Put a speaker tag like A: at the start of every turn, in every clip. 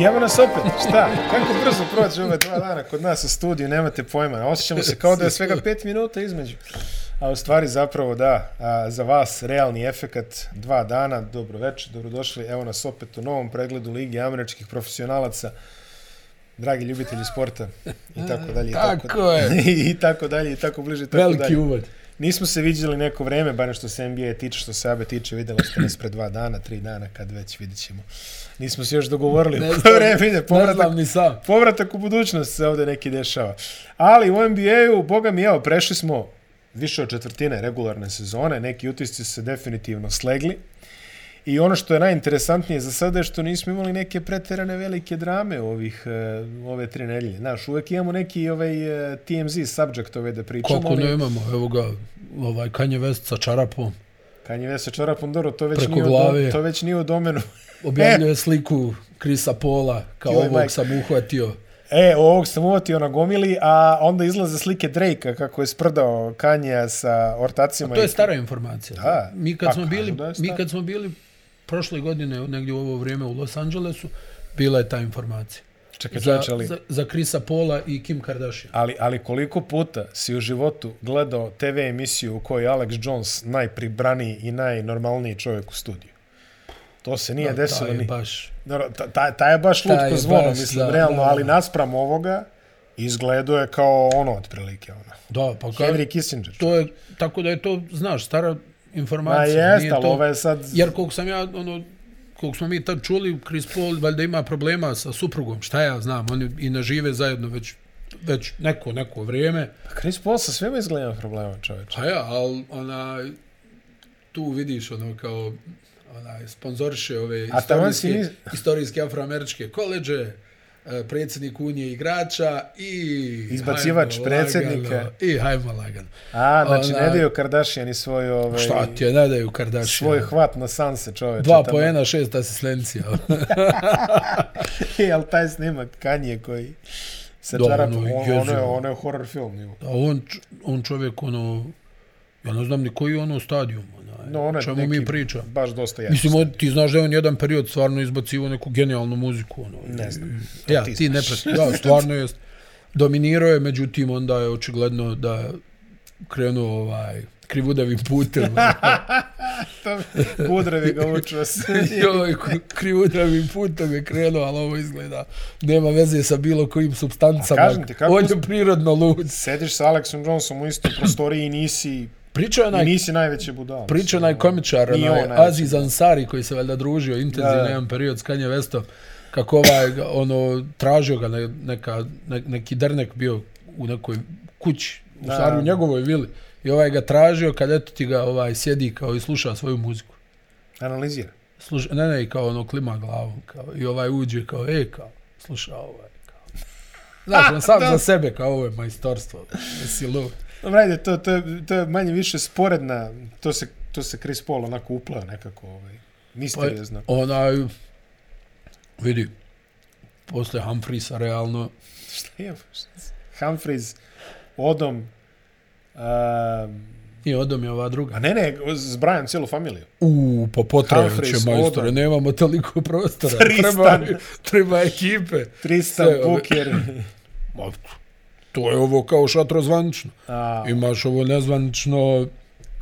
A: I evo nas opet, šta? Kako brzo prođe ove dva dana kod nas u studiju, nemate pojma. Osjećamo se kao da je svega pet minuta između. A u stvari zapravo da, a, za vas realni efekat dva dana, dobro večer, dobrodošli, evo nas opet u novom pregledu Ligi američkih profesionalaca, dragi ljubitelji sporta i tako dalje. i
B: Tako je.
A: I tako dalje, i tako bliže, i tako
B: Veliki
A: dalje.
B: uvod.
A: Nismo se viđali neko vreme, barem što se NBA tiče, što se ABE tiče, vidjeli ste nas pre dva dana, tri dana, kad već vidjet ćemo. Nismo se još dogovorili
B: Ne
A: u koje
B: znam,
A: vreme ide
B: Ne
A: povratak.
B: znam ni sam.
A: Povratak u budućnost se ovde neki dešava. Ali u NBA-u, boga mi evo, prešli smo više od četvrtine regularne sezone, neki utisci su se definitivno slegli. I ono što je najinteresantnije za sada je što nismo imali neke preterane velike drame u ovih, e, ove tri nedelje. Znaš, uvek imamo neki ovaj e, TMZ subject ove da pričamo.
B: Kako
A: ali-
B: nemamo, evo ga, ovaj Kanye West sa čarapom.
A: Kanye West sa čarapom, dobro, to već,
B: Preko
A: nije, u
B: glave.
A: dom, to već nije u domenu.
B: Objavljuje sliku Krisa Pola, kao
A: E. Joj, Mike.
B: ovog sam uhvatio.
A: E, ovog sam uvatio na gomili, a onda izlaze slike Drake-a kako je sprdao Kanye sa ortacima.
B: To je
A: i-
B: stara informacija.
A: Da,
B: mi
A: pa
B: kad smo
A: kažu
B: bili,
A: da je stara.
B: mi kad smo bili prošle godine negdje u ovo vrijeme u Los Angelesu, bila je ta informacija.
A: Čekaj,
B: Za,
A: čovječe, ali,
B: za, za Krisa Pola i Kim Kardashian.
A: ali, ali koliko puta si u životu gledao TV emisiju u kojoj je Alex Jones najpribraniji i najnormalniji čovjek u studiju? To se nije desilo
B: Ta je
A: ni...
B: baš.
A: Dobro, ta, ta, ta je baš
B: Ta
A: lutko
B: je
A: zvono,
B: baš,
A: mislim,
B: da,
A: realno,
B: da.
A: ali naspram ovoga izgledao je kao ono, otprilike, ono.
B: Da, pa kao,
A: Henry Kissinger.
B: to je, tako da je to, znaš, stara
A: Ma
B: informacija.
A: jest,
B: nije
A: ali
B: to-
A: ovo je sad...
B: Jer koliko sam ja, ono, koliko smo mi tad čuli, Chris Paul valjda ima problema sa suprugom, šta ja znam, oni i ne žive zajedno već, već neko, neko vrijeme.
A: Chris Paul sa svima izgleda ima problema, čoveče.
B: Pa ja, ali ona, tu vidiš ono kao, ona, sponzorše ove
A: A taman si
B: istorijske,
A: nis-
B: istorijske afroameričke koleđe, e, predsjednik unije igrača i...
A: Izbacivač
B: hajmo
A: predsjednika.
B: lagano, I hajmo lagano.
A: A, znači,
B: Ona-
A: ne daju Kardashian i svoj, ovaj,
B: Šta ti je, ne daju Kardashian.
A: svoj hvat na sanse, čoveče.
B: Dva
A: tamo.
B: poena, šest asistencija.
A: Jel taj snimak Kanje koji se
B: Da, ono,
A: čarapa, ono, ono, je,
B: jezivo.
A: ono je horror film. Nivo.
B: A on, č- on čovjek, ono, ja ne znam ni koji je ono stadion, onaj,
A: No, ono je
B: čemu
A: neki-
B: mi pričamo.
A: Baš dosta jako.
B: Mislim, on, ti znaš da je on jedan period stvarno izbacivo neku genijalnu muziku, ono.
A: Ne znam.
B: Ja,
A: ti
B: ti, ne
A: znaš.
B: prati. Da, stvarno jest. Dominirao je, međutim, onda je očigledno da krenuo ovaj krivudavim putem.
A: Kudrevi ga uču se.
B: Joj, krivudavim putem je krenuo, ali ovo izgleda nema veze sa bilo kojim
A: A
B: substancama.
A: kažem ti, kako-
B: On je prirodno lud.
A: Sediš sa Alexom Johnsonom u istoj prostoriji i nisi,
B: Pričao je
A: i
B: onaj
A: nisi Ono, najveće budala.
B: Priča onaj komičar,
A: Nije
B: onaj
A: on najveći.
B: Aziz Ansari koji se valjda družio
A: Da,
B: intenzivno
A: da.
B: jedan period s Kanye Westom, kako ovaj, ga, ono, tražio ga ne, neka, ne, neki drnek bio u nekoj kući, u
A: Da.
B: stvari u njegovoj vili. I ovaj ga tražio kad eto ti ga ovaj sjedi kao i sluša svoju muziku.
A: Analizira.
B: Sluša, ne, ne, i kao ono klima glavom. Kao, I ovaj uđe kao, e, kao, sluša ovaj. Kao. Znaš, on sam za sebe kao ovo je majstorstvo. Jesi lud.
A: Dobro, ajde, to, to, je, to je manje više sporedna, to se, to se Chris Paul onako upleo nekako, ovaj, misteriozno.
B: Pa, onaj, vidi, posle Humphreesa realno,
A: Šta
B: Pa,
A: je? Humphreys, Odom, a,
B: i odom je ova
A: a
B: druga.
A: ne ne, zbrajam cijelu familiju.
B: U, pa potrajat će
A: Humphreys,
B: majstore,
A: Odom.
B: nemamo toliko prostora.
A: Tristan.
B: Treba, treba ekipe.
A: Tristan,
B: Sve, ove-
A: Booker,
B: Ma, to je ovo kao šatro zvanično.
A: a,
B: Imaš ovo nezvanično...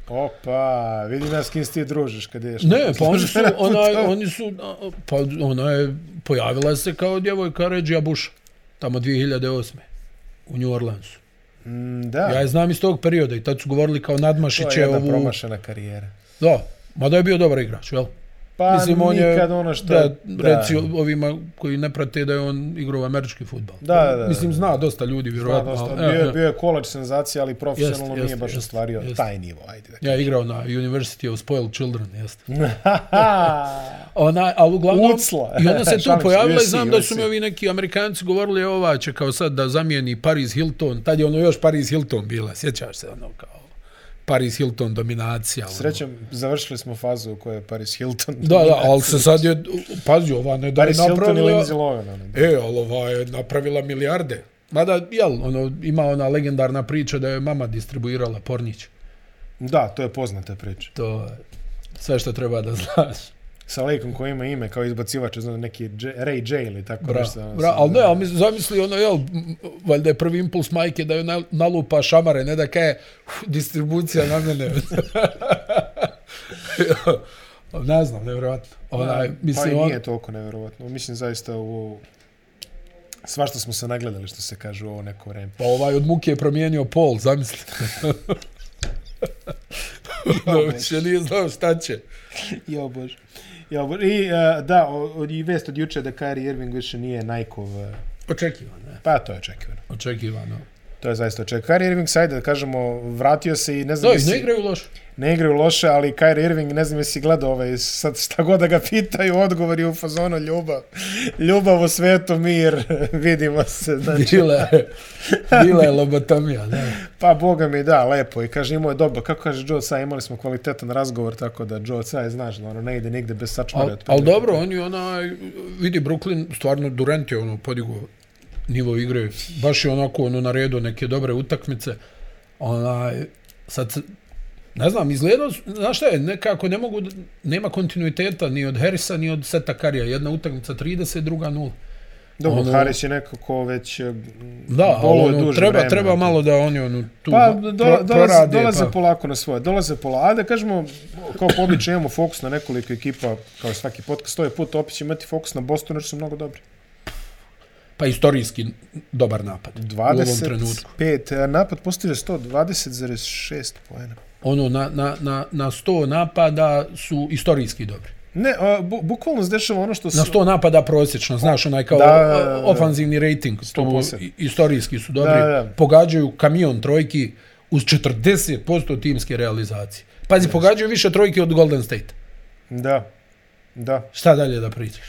A: opa, vidi nas s kim se ti družiš kad ideš. na-
B: Ne, pa oni su,
A: na
B: onaj,
A: putovanje.
B: oni su, a, pa ona je, pojavila se kao djevojka Regija Buša, tamo 2008. u New Orleansu.
A: Mm, da,
B: Ja je znam iz tog perioda i tad su govorili kao
A: to je
B: Nadmašiće
A: jedna
B: ovu...
A: promašena karijera.
B: Da, mada je bio dobar igrač, jel?
A: Pa
B: Mislim, on je,
A: nikad ono što...
B: da, reci ovima koji ne prate da je on igrao američki futbal.
A: Da, da, da.
B: Mislim, zna dosta ljudi,
A: Pa,
B: vjerojatno.
A: dosta,
B: ali-
A: bio, je,
B: e,
A: bio je koleđ senzacija, ali profesionalno
B: Jeste,
A: nije
B: jeste,
A: baš
B: jeste,
A: ostvario
B: jeste.
A: taj nivo, ajde da.
B: Ja je igrao na University of Spoiled Children, jeste.
A: kažem.
B: Ona, ali uglavnom,
A: Ucla.
B: i ona se tu
A: Šalim se,
B: pojavila i
A: USC,
B: znam da su mi
A: USC.
B: ovi neki Amerikanci govorili, "E, ova će kao sad da zamijeni Paris Hilton, tad je ono još Paris Hilton bila, sjećaš se ono kao Paris Hilton dominacija. ono.
A: Srećem, završili smo fazu u kojoj je Paris Hilton.
B: Da, da, ali se sad je, pazi, ova ne da je
A: Paris Hilton i
B: napravila,
A: Lindsay Lohan. ono.
B: E, ali ova je napravila milijarde. Mada, jel, ono, ima ona legendarna priča da je mama distribuirala pornić.
A: Da, to je poznata priča.
B: To je sve što treba da znaš.
A: sa lejkom koji ima ime kao izbacivač, znam, neki J, Ray J ili tako
B: Bra,
A: nešto. ono,
B: bra,
A: sad,
B: ali ne, ali misli- zamisli ono, jel, m, valjda je prvi impuls majke da joj na- nalupa šamare, ne da kaje, "Uf, distribucija na mene. ne znam, nevjerojatno. Onaj, mislim,
A: pa i
B: on,
A: nije toliko nevjerovatno. Mislim, zaista u ovo... Svašta smo se nagledali, što se kaže, u ovo neko vreme.
B: pa ovaj od muke je promijenio pol, zamisli.
A: Pa
B: ono, više nije znao šta će.
A: Jo bože. Jo bože. I, uh, da, o, o, i vest od juče da Kyrie Irving više nije Nike-ov... e,
B: Očekivano, je.
A: Pa to je očekivano.
B: Očekivano.
A: To je zaista očekivano. Kyrie Irving, sajde, da kažemo, vratio se i ne znam...
B: Da, i
A: jesi-
B: ne igraju loše.
A: ne igraju loše, ali Kyrie Irving, ne znam jesi gledao ovaj, sad šta god da ga pitaju, odgovor je u fazonu ljubav. Ljubav u svetu, mir, vidimo se. Znači,
B: Bila je, bila je lobotomija, ne.
A: pa boga mi da, lepo. I kaže, imao je dobro, kako kaže Joe Tsai, imali smo kvalitetan razgovor, tako da Joe Tsai, znaš, da ono ne ide nigde bez sačmara.
B: Ali al dobro, oni onaj, vidi Brooklyn, stvarno Durant je ono podigao nivo igre, baš je onako ono na redu neke dobre utakmice. Onaj, sad, se- ne znam, izgledao, su- znaš šta je, nekako ne mogu, da- nema kontinuiteta ni od Harrisa, ni od Seta Karija. Jedna utakmica 30, druga 0.
A: Dobro,
B: ono-
A: Harris je nekako već e,
B: Da, ali
A: boluje
B: ono,
A: duže
B: treba,
A: vremena.
B: treba malo da oni ono, tu
A: Pa,
B: pro-
A: dola, dolaze,
B: prorade,
A: dolaze
B: pa-
A: polako na svoje. Dolaze polako. A da kažemo, kao po običaju imamo fokus na nekoliko ekipa, kao svaki podcast, to je put, opet će imati fokus na Bostonu, jer su mnogo dobri.
B: pa istorijski dobar napad u ovom trenutku.
A: 25, a napad postiže 120,6 poena.
B: Ono, na, na, na, na 100 napada su istorijski dobri.
A: Ne, a, bu, bukvalno se dešava ono što
B: Na
A: su...
B: 100 napada prosječno, znaš, onaj kao
A: Da, da, da.
B: o- ofanzivni rating, tu
A: 100%.
B: i- istorijski su dobri,
A: Da, da.
B: pogađaju kamion trojki uz 40% timske realizacije. Pazi, pogađaju više trojke od Golden State.
A: Da, da,
B: Šta dalje da pričaš?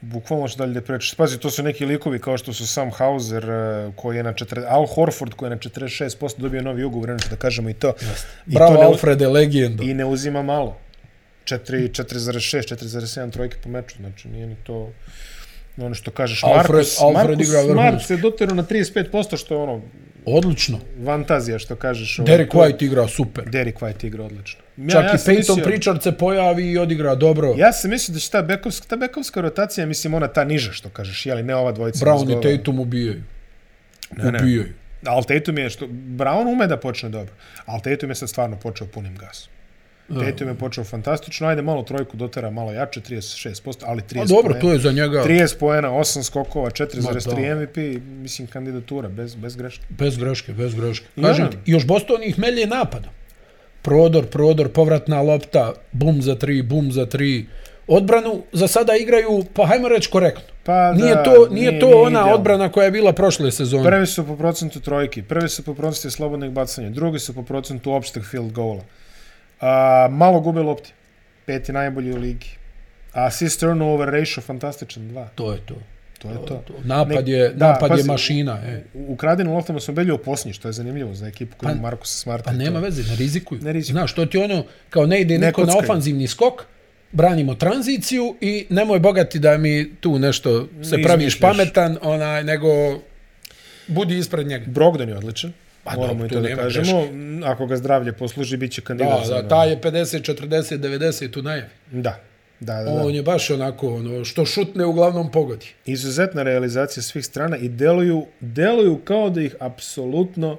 A: bukvalno što dalje da prečeš. Pazi, to su neki likovi kao što su Sam Hauser, e, koji je na 40, Al Horford, koji je na 46% dobio novi ugovor, nešto da kažemo i to. I
B: Bravo,
A: to ne-
B: Alfrede, legendo.
A: I ne uzima malo. 4, 4,6, 4,7 trojke po meču, znači nije ni to ono što kažeš.
B: Alfred-
A: Markus,
B: Alfred
A: Markus
B: igra vrhunski.
A: Smart se doterao na 35%, što je ono,
B: Odlično.
A: fantazija što kažeš. ovaj,
B: Derek
A: to je-
B: White igra super.
A: Derek White igra odlično. Ja,
B: Čak i
A: sam
B: Peyton
A: mislio-
B: Pritchard se pojavi i odigra dobro.
A: Ja sam mislio da će ta bekovska, ta bekovska rotacija, mislim ona ta niža što kažeš, jeli ne ova dvojica.
B: Brown i
A: mozgova.
B: Tatum ubijaju.
A: Ne, ne.
B: Ubijaju.
A: Ali Tatum je, što, Brown ume da počne dobro, ali Tatum je sad stvarno počeo punim gasom. Tatum je počeo fantastično, ajde malo trojku dotera, malo jače, 36%, ali 30
B: A dobro,
A: poena.
B: to je za njega
A: 30 poena, 8 skokova,
B: Ma
A: 4,3 MVP, mislim kandidatura, bez, bez greške.
B: Bez greške, bez greške.
A: Ja.
B: Kažem ti, još Boston ih melje napadom. Prodor, prodor, povratna lopta, bum za tri, bum za tri. Odbranu za sada igraju, pa hajmo reći korektno.
A: Pa
B: Nije
A: da,
B: to, nije, to ona
A: idealno.
B: odbrana koja je bila prošle sezone.
A: Mm. Prvi su po procentu trojki, prvi su po procentu slobodnih bacanja, drugi su po procentu opšteg field goala. A, malo gube lopti. Peti najbolji u ligi. A assist turnover ratio fantastičan, dva.
B: To je to.
A: To je to.
B: Napad
A: Ne-
B: je,
A: da, pa
B: napad je
A: pazi,
B: mašina. E.
A: U ukradenu loptama su belju posljednji, što je zanimljivo za ekipu koju
B: Pa-
A: pa, Markusa Smarta.
B: Pa
A: i to.
B: nema veze, ne rizikuju.
A: Ne rizikuju.
B: Znaš, to ti je ono, kao ne ide
A: Ne
B: niko na
A: kockaju.
B: ofanzivni skok, branimo tranziciju i nemoj bogati da mi tu nešto se praviš
A: izmišljaš.
B: pametan, onaj, nego budi ispred njega.
A: Brogdon je odličan.
B: Pa
A: Moramo
B: dobro,
A: i
B: tu
A: to da
B: nema
A: kažemo. Ako ga zdravlje posluži, bit će kandidat.
B: Da,
A: za
B: da,
A: ono.
B: taj je 50, 40, 90 tu najavi.
A: Da, da, da. da.
B: On je baš onako, ono, što šutne uglavnom pogodi.
A: Izuzetna realizacija svih strana i deluju, deluju kao da ih apsolutno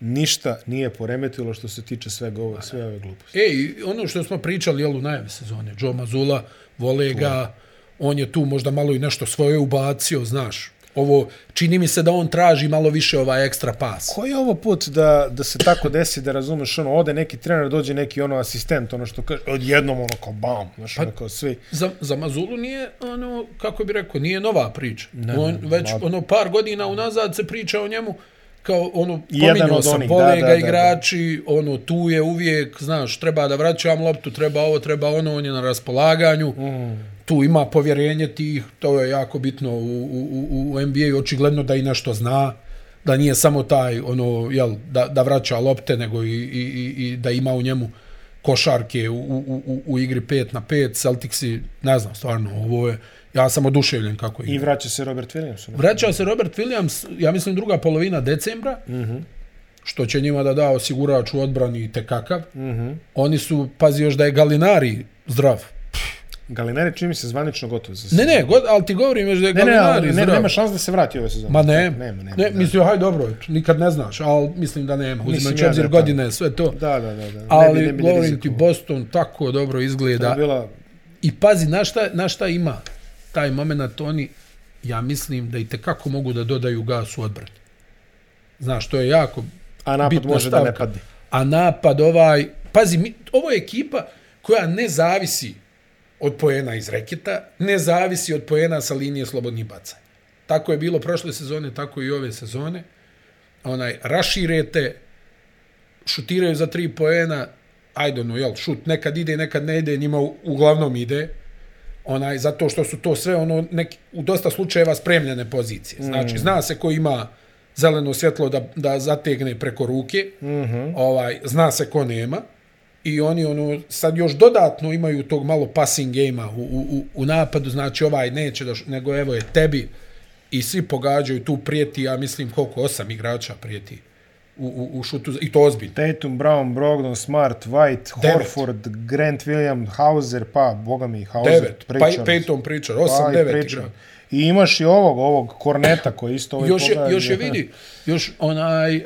A: ništa nije poremetilo što se tiče svega ove, sve ove gluposti.
B: E, i ono što smo pričali, jel, u najavi sezone, Joe Mazula, vole ga, on je tu možda malo i nešto svoje ubacio, znaš. Ovo, čini mi se da on traži malo više ovaj ekstra pas.
A: Koji je ovo put da, da se tako desi, da razumeš, ono, ode neki trener, dođe neki ono asistent, ono što kaže, odjednom ono kao bam, znaš,
B: Pa-
A: ono kao svi.
B: Za, za Mazulu nije, ono, kako bi rekao, nije nova priča. Ne, on,
A: ne,
B: već,
A: ma-
B: ono, par godina unazad se priča o njemu, kao ono,
A: Jedan
B: pominjao
A: od
B: sam,
A: onih, da,
B: vole
A: da,
B: ga
A: da,
B: igrači, ono, tu je uvijek, znaš, treba da vraćam loptu, treba ovo, treba ono, on je na raspolaganju, mm. tu ima povjerenje tih, to je jako bitno u, u, u u NBA, očigledno da i nešto zna, da nije samo taj, ono, jel, da, da vraća lopte, nego i, i, i- i da ima u njemu košarke u, u, u, u igri 5 na 5, Celticsi, ne znam, stvarno, ovo je, ja sam oduševljen kako igra.
A: I vraća se Robert Williams. ono.
B: Vraćao se Robert Williams, ja mislim druga polovina decembra,
A: Mhm.
B: što će njima da da osigurač
A: Mhm.
B: u odbrani i tekakav. Oni su, pazi još da je Galinari zdrav. Pff,
A: Galinari čini mi se zvanično gotov za
B: Ne,
A: sezonu.
B: ne, god, ali ti govorim još da je
A: Ne, ne, ali
B: Galinari
A: ne,
B: zdrav.
A: nema šans da se vrati ove sezone.
B: Ma ne,
A: Nema, nema.
B: ne,
A: da.
B: mislim, haj dobro, eto, nikad ne znaš, ali mislim da nema,
A: Mislim
B: uzimajući
A: ja da
B: obzir
A: je
B: godine, sve to.
A: Da, da, da. da.
B: ali,
A: ne bi, ne bi
B: govorim ti,
A: rizikovao.
B: Boston tako dobro
A: To je
B: izgleda.
A: bila
B: I pazi, na šta, na šta ima taj moment oni, ja mislim da i kako mogu da dodaju gas u odbrani. Znaš, to je jako
A: A napad
B: bitna
A: može
B: stavka.
A: da ne padne.
B: A napad ovaj... Pazi, mi, ovo je ekipa koja ne zavisi od poena iz reketa, ne zavisi od poena sa linije slobodnih bacanja. Tako je bilo prošle sezone, tako i ove sezone. Onaj, raširete, šutiraju za tri poena, ajde ono, jel, šut nekad ide, nekad ne ide, njima u- uglavnom ide, onaj, zato što su to sve ono, neki, u dosta slučajeva spremljene pozicije. Znači, zna se ko ima zeleno svjetlo da, da zategne preko ruke, mm -hmm. ovaj, zna se ko nema, i oni ono, sad još dodatno imaju tog malo passing game-a u, u, u- u napadu, znači ovaj neće, da, š- nego evo je tebi, i svi pogađaju, tu prijeti, ja mislim koliko, osam igrača prijeti u, u, u šutu, i to ozbiljno.
A: Tatum, Brown, Brogdon, Smart, White,
B: Devet.
A: Horford, Grant, William, Hauser, pa, boga mi, Hauser,
B: Devet, pa,
A: Pritchard.
B: Peyton Pritchard,
A: Pa, i
B: osam, devet
A: Pritchard.
B: igra.
A: I imaš i ovog, ovog Korneta koji isto ovaj
B: Još je,
A: pogađa.
B: još je vidi, još onaj, uh,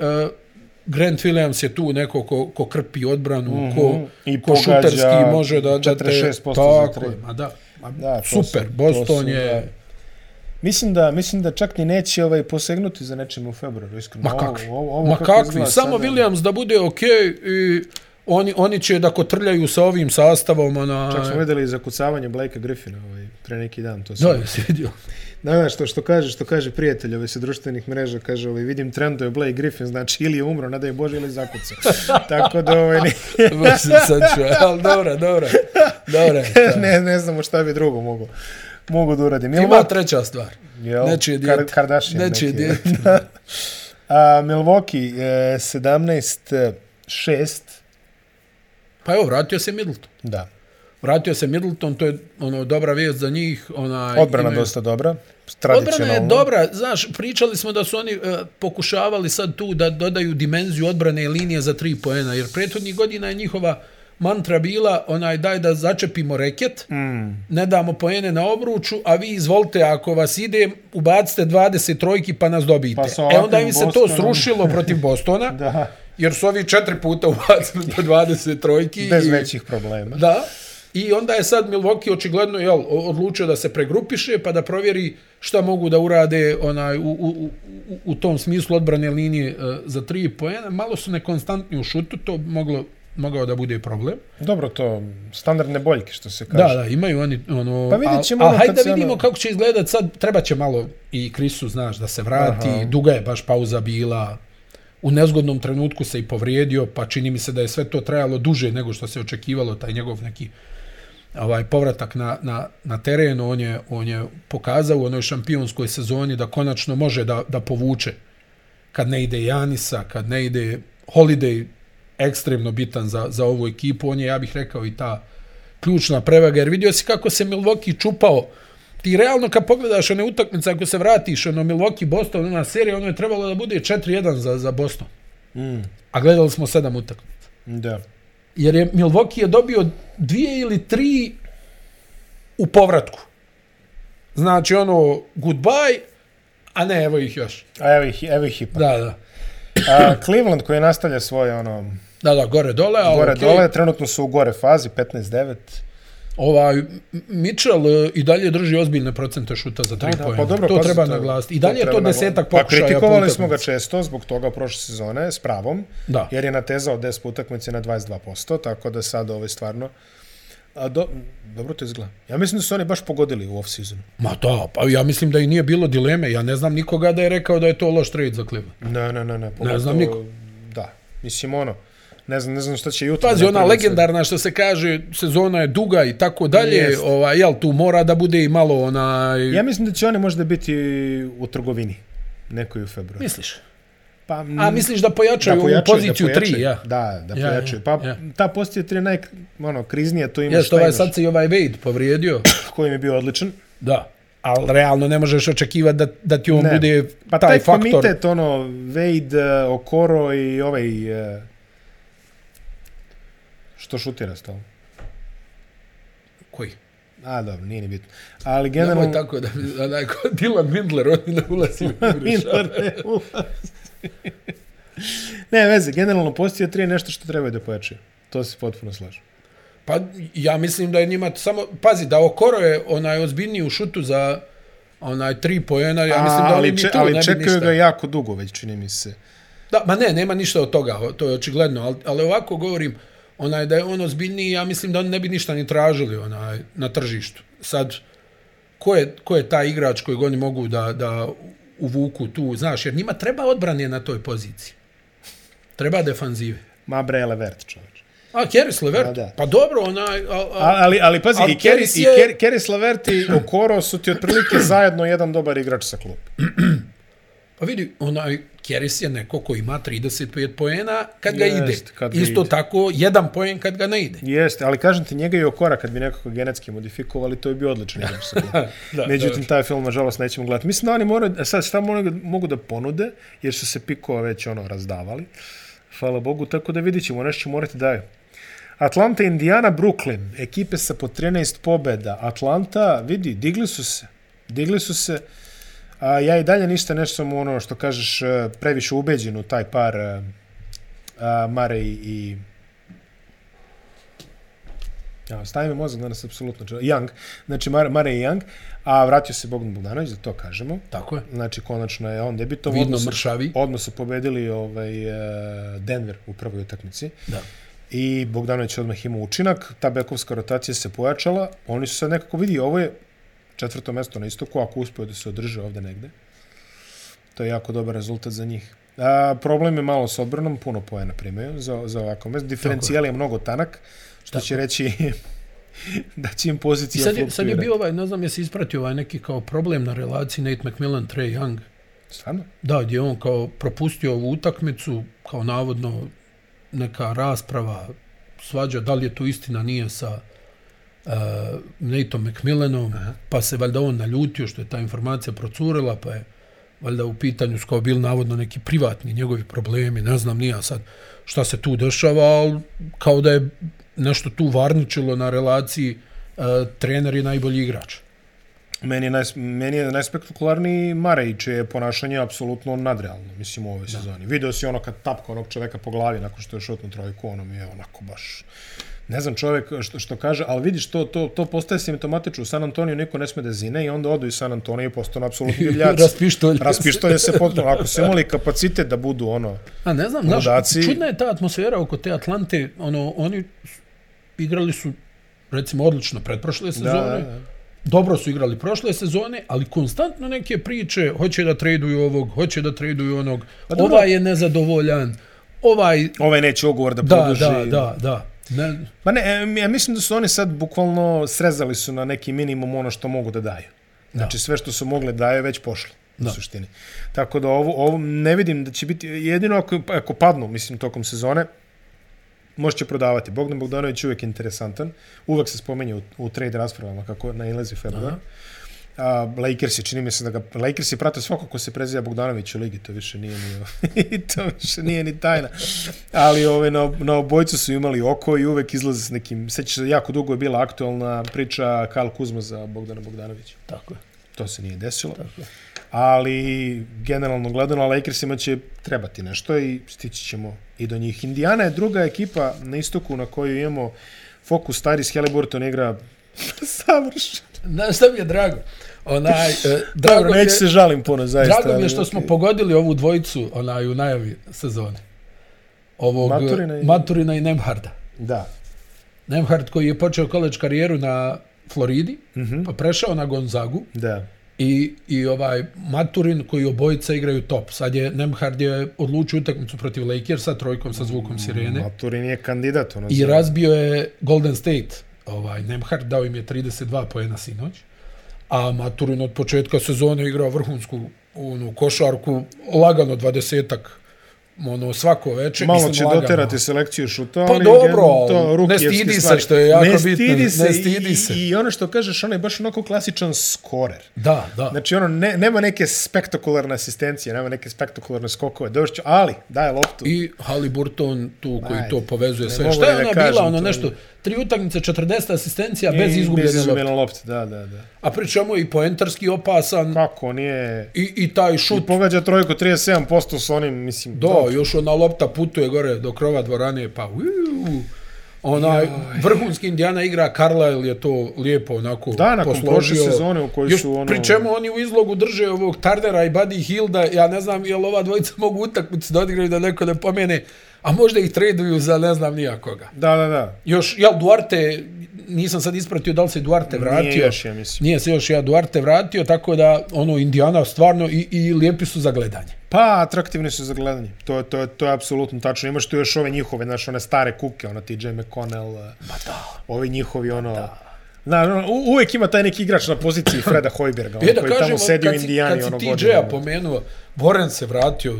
B: Grant Williams je tu neko ko, ko krpi odbranu, mm -hmm. ko,
A: Mhm, I
B: ko
A: pogađa
B: šuterski može da, da te...
A: 46% za
B: Tako
A: tri.
B: je, ma da. Ma,
A: Da,
B: da
A: to
B: super,
A: su- to
B: Boston
A: su, da.
B: je...
A: Mislim da, mislim da čak ni neće ovaj posegnuti za nečim u februaru, iskreno.
B: Ma kakvi,
A: Ovo, ovo, ovo
B: ma
A: kako
B: kakvi,
A: izgleda
B: samo
A: sada,
B: Williams da bude okej i oni, oni će da kotrljaju sa ovim sastavom, ona...
A: ono, Čak smo videli i zakucavanje Blakea Griffina ovaj, pre neki dan. To
B: Da,
A: sam,
B: jesi vidio.
A: da, da, što, što kaže, što kaže prijatelj ovaj, sa društvenih mreža, kaže, ovaj, vidim trend da je Blake Griffin, znači ili je umro, nadaj Bože, ili je zakucao. Tako da, ovaj, ne,
B: Baš sam sad čuo, ali dobro, dobro. Dobro. je.
A: ne, ne znamo šta bi drugo mogu, mogu da uradim.
B: Ima treća stvar.
A: Jel,
B: Nečije
A: Kar-
B: dijete.
A: Kardashian
B: Nečije
A: neki.
B: dijete.
A: A, Milwaukee, e, 17-6,
B: Pa evo, vratio se Middleton.
A: da.
B: Vratio se Middleton, to je ono dobra vijest za njih. Onaj,
A: Odbrana
B: Pa imaju-
A: dosta dobra,
B: Odbrana
A: tradicionalno.
B: je dobra, znaš, pričali smo da su oni e, pokušavali sad tu da dodaju dimenziju odbrane i linije za tri poena, jer prethodnih godina je njihova mantra bila onaj daj da začepimo reket, mm. ne damo poene na obruču, a vi izvolite ako vas ide, ubacite 20 trojki pa nas dobijete.
A: Pa sa
B: e
A: ovakvim
B: onda im se to
A: Bostonom-
B: srušilo protiv Bostona,
A: Da.
B: jer su ovi četiri puta ubacili po 20 trojki.
A: Bez
B: i-
A: većih problema.
B: Da. I onda je sad Milwaukee očigledno jel, o- odlučio da se pregrupiše pa da provjeri šta mogu da urade onaj, u, u, u, u- u tom smislu odbrane linije e, za tri poena. Malo su nekonstantni u šutu, to moglo, mogao da bude problem.
A: Dobro, to standardne boljke, što se kaže.
B: Da, da, imaju oni ono...
A: Pa vidjet ćemo
B: a,
A: ono
B: a hajde
A: kad se
B: da vidimo
A: ono-
B: kako će izgledat sad, treba će malo i Krisu, znaš, da se vrati, Aha. duga je baš pauza bila, u nezgodnom trenutku se i povrijedio, pa čini mi se da je sve to trajalo duže nego što se očekivalo, taj njegov neki ovaj povratak na, na, na teren, on je, on je pokazao u onoj šampionskoj sezoni da konačno može da, da povuče kad ne ide Janisa, kad ne ide Holiday, ekstremno bitan za, za ovu ekipu, on je, ja bih rekao, i ta ključna prevaga, jer vidio si kako se Milwaukee čupao. Ti realno kad pogledaš one utakmice, ako se vratiš, ono Milwaukee-Boston, ona serija, ono je trebalo da bude 4-1 za, za Boston.
A: Mm,
B: A gledali smo sedam utakmica.
A: da.
B: Jer je Milwaukee je dobio dvije ili tri u povratku. Znači ono, goodbye, a ne, evo ih još.
A: A evo ih, evo ih ipak.
B: Da, da.
A: A, Cleveland koji nastavlja svoje ono,
B: Da, da, gore dole, a
A: gore
B: okej.
A: dole, trenutno su u gore fazi, 15-9.
B: Ovaj, M- Mitchell e, i dalje drži ozbiljne procente šuta za tri
A: Da,
B: poena.
A: pa dobro,
B: to
A: pazi,
B: treba naglasiti. I dalje je
A: treba
B: to
A: nagla-
B: desetak
A: Pa
B: pokušaja. po
A: kritikovali smo ga
B: utakmici.
A: često zbog toga prošle sezone, s pravom,
B: Da.
A: jer je natezao 10 po utakmici na 22%, tako da sad ovo je stvarno... A do, dobro to izgleda. Ja mislim da su oni baš pogodili u off-seasonu.
B: Ma da, pa ja mislim da i nije bilo dileme. Ja ne znam nikoga da je rekao da je to loš trade za Cleveland.
A: Ne, ne, ne, ne.
B: Ne
A: pogotovo-
B: znam niko.
A: Da. Mislim, ono, ne znam, ne znam šta će jutro.
B: Pazi, ona
A: napraviti sa-
B: legendarna što se kaže, sezona je duga i tako dalje,
A: Jest.
B: ovaj, jel, tu mora da bude i malo onaj...
A: Ja mislim da će oni možda biti u trgovini nekoj u februaru.
B: Misliš?
A: Pa, m,
B: A misliš da pojačaju, ovu poziciju 3, ja?
A: Da, da
B: Ja,
A: pojačaju.
B: ja,
A: Pa
B: ja.
A: ta pozicija 3 je naj, ono, kriznija, to imaš,
B: Ješ,
A: šta
B: ovaj
A: imaš,
B: sad se i ovaj Wade povrijedio.
A: koji mi je bio odličan.
B: Da. Ali realno ne možeš očekivati da, da ti on
A: Ne.
B: bude
A: Pa taj,
B: taj,
A: taj
B: faktor.
A: komitet, ono, Wade, eh, Okoro i ovaj... eh, Što šutira stalno?
B: Koji?
A: A, dobro, nije ni bitno. Ali
B: Nemoj
A: generalno...
B: tako da, da, da ko Dylan Mindler, on ne ulazi u igru.
A: Miller ne ulazi. ne, veze, generalno postija 3 je nešto što trebaju da pojačaju. To se potpuno slažem.
B: Pa ja mislim da je njima samo... Pazi, da Okoro je onaj ozbiljniji u šutu za onaj tri pojena, ja mislim da oni
A: ali,
B: ni
A: če,
B: tu ne
A: ali
B: bi
A: čekaju
B: ništa.
A: ga jako dugo već, čini mi se.
B: Da, ma ne, nema ništa od toga, o- to je očigledno, ali, ali ovako govorim, onaj da je on ozbiljniji, ja mislim da oni ne bi ništa ni tražili onaj, na tržištu. Sad, ko je, ko je taj igrač kojeg oni mogu da, da uvuku tu, znaš, jer njima treba odbrane na toj poziciji. Treba defanzive.
A: Ma bre, Levert, čoveč.
B: A, Keris Levert,
A: Da, da.
B: pa dobro, onaj... A, a,
A: Ali, ali pazi,
B: Ali
A: i Keris,
B: Keris
A: i
B: je-
A: Ker, Keris Levert i Okoro su ti otprilike zajedno jedan dobar igrač sa klubu.
B: pa vidi, onaj, Keris je neko ko ima 35 poena kad ga
A: Jest,
B: ide.
A: kad ga
B: Isto
A: ide.
B: tako, jedan poen kad ga ne ide.
A: Jeste, ali kažem ti, njega i Okora kad bi nekako genetski modifikovali, to je bio odličan igrač sa klubom.
B: Da,
A: Međutim, taj film, nažalost, nećemo gledati. Mislim da oni moraju, a sad šta mogu, mogu da ponude, jer su se pikova već ono razdavali. Hvala Bogu, tako da vidit ćemo, nešto će morati daju. Atlanta, Indiana, Brooklyn, ekipe sa po 13 pobeda. Atlanta, vidi, digli su se. Digli su se. A ja i dalje ništa nešto sam ono što kažeš e, previše ubeđen u taj par e, a, Mare i, i Ja, staje mi mozak danas apsolutno. čar- Young, znači Mare, Mare i Young, a vratio se Bogdan Bogdanović, da to kažemo.
B: Tako je.
A: Znači, konačno je on debitovo.
B: Vidno
A: odmah su-
B: mršavi.
A: Odmah su pobedili ovaj, e, Denver u prvoj utakmici.
B: Da.
A: I Bogdanović je odmah imao učinak. Ta bekovska rotacija se pojačala. Oni su sad nekako vidi, ovo je četvrto mesto na istoku, ako uspeju da se održe ovde negde. To je jako dobar rezultat za njih. A, problem je malo s odbranom, puno pojena primaju za, za ovako mesto. Diferencijal je mnogo tanak, što će reći da će im
B: I
A: pozicija
B: sad je,
A: fluktuirati.
B: sad je bio ovaj, ne znam jesi ispratio ovaj neki kao problem na relaciji Nate McMillan, Trey Young.
A: Stvarno?
B: Da, gdje je on kao propustio ovu utakmicu, kao navodno neka rasprava, svađa, da li je tu istina, nije sa uh, Nateom McMillanom, pa se valjda on naljutio što je ta informacija procurila, pa je valjda u pitanju skao bil navodno neki privatni njegovi problemi, ne znam nija sad šta se tu dešava, ali kao da je nešto tu varničilo na relaciji uh, trener i najbolji igrač.
A: Meni je, naj, meni je najspektakularniji Marej, čije je ponašanje apsolutno nadrealno, mislim, u ovoj sezoni. Video si ono kad tapka onog čoveka po glavi nakon što je šutno trojku, ono mi je onako baš... Ne znam čovjek što, što kaže, ali vidiš, to, to, to postaje simptomatično. U San Antoniju niko ne sme da zine i onda odu iz San Antonija i postanu apsolutni divljaci.
B: Raspištolje se.
A: Raspištolje se potpuno. Ako su imali kapacitet da budu ono...
B: A ne znam, znaš,
A: Ludaci.
B: čudna je ta atmosfera oko te Atlante, ono, oni su- igrali su, recimo, odlično pretprošle sezone,
A: da.
B: da, da. dobro su igrali prošle sezone, ali konstantno neke priče, hoće da traduju ovog, hoće da traduju onog, pa,
A: dobro.
B: ovaj je nezadovoljan, ovaj,
A: Ovaj neće ugovor da
B: da,
A: produži.
B: da, da, da, ne,
A: Ma Pa ne, em, ja mislim da su oni sad bukvalno srezali su na neki minimum ono što mogu da daju. Znači sve što su mogle daje već pošlo u
B: Da.
A: suštini. Tako da ovo, ovo ne vidim da će biti, jedino ako, ako padnu, mislim, tokom sezone, možda će prodavati. Bogdan Bogdanović je uvijek interesantan, uvek se spomenje u, u trade raspravama kako na Ilezi februar. A, Lakersi, čini mi se da ga, Lakersi prate svako ko se preziva Bogdanović u ligi, to više nije ni, to više nije ni tajna. Ali ove, na, na obojcu su imali oko i uvek izlaze s nekim, sećaš se, jako dugo je bila aktualna priča Karl Kuzma za Bogdana Bogdanovića.
B: tako je.
A: To se nije desilo. Ali, generalno gledano, Lakersima će trebati nešto i stići ćemo i do njih. Indiana je druga ekipa na istoku na koju imamo fokus Taris Halliburton igra savršeno.
B: Znaš šta mi je drago? Onaj, eh, drago,
A: Dobro,
B: mi je,
A: neću se žalim puno, zaista.
B: drago mi je
A: ali,
B: što smo
A: okej.
B: pogodili ovu dvojicu onaj, u najavi sezone. Ovog, eh,
A: Maturina i-
B: Maturina i Nemharda.
A: Da.
B: Nemhard koji je počeo koleđ karijeru na Floridi, mm
A: Mhm.
B: -hmm. pa prešao na Gonzagu
A: Da.
B: i, i ovaj Maturin koji obojica igraju top. Sad je Nemhard je odlučio utakmicu protiv Lakersa trojkom sa zvukom sirene
A: Maturin je kandidat. Ono,
B: i
A: za-
B: razbio je Golden State. Ovaj, Nemhard dao im je 32 poena sinoć, a Maturin od početka sezone igrao vrhunsku onu košarku, lagano dvadesetak ono svako večer.
A: Malo
B: mislim,
A: će
B: lagano.
A: doterati selekciju šuta.
B: Pa
A: ali
B: dobro,
A: gen-
B: ali ne
A: rukijevski
B: stidi se,
A: stvar.
B: što je jako bitno, ne
A: i-
B: stidi se.
A: I, I ono što kažeš, on je baš onako klasičan skorer.
B: Da, da.
A: Znači, ono, ne, nema neke spektakularne asistencije, nema neke spektakularne skokove, došću, ali, daje loptu.
B: i Haliburton tu koji
A: Ajde,
B: to povezuje
A: ne
B: sve.
A: mogu
B: Šta je
A: ni da
B: ona
A: kažem,
B: bila ono
A: to je-
B: nešto tri utakmice, 40 asistencija
A: I
B: bez izgubljene
A: Bez
B: lopte.
A: izgubljene lopte, da, da, da.
B: A pričamo i poentarski opasan
A: Kako, nije...
B: i, i taj šut.
A: Pa. I pogađa trojku 37% s onim, mislim...
B: Do, još ona lopta putuje gore do krova dvorane, pa uuu. Onaj vrhunski Indiana igra Carlisle je to lijepo onako
A: Da, nakon prošle sezone u kojoj
B: Još
A: su ono-
B: Pri čemu oni u izlogu drže ovog Tardera i Buddy Hilda, ja ne znam jel ova dvojica mogu utakmicu da odigraju da neko ne pomene, a možda ih traduju za ne znam nijakoga.
A: Da, da, da.
B: Još, jel Duarte, nisam sad ispratio da li se Duarte vratio.
A: Nije još, ja mislim.
B: Nije se još ja Duarte vratio, tako da ono Indiana stvarno i, i lijepi su za gledanje.
A: Pa, atraktivni su za gledanje. To, je- to, je, to je apsolutno tačno. Imaš tu još ove njihove, znaš, one stare kuke, ono TJ McConnell, Ma da. ovi njihovi, ono... Na, no, u- uvijek ima taj neki igrač na poziciji Freda Hojberga, ono,
B: Je E, da
A: koji tamo
B: kažemo,
A: sedi u
B: kad si,
A: Indijani, ono
B: kad si
A: godinama.
B: TJ-a pomenuo, Boren se vratio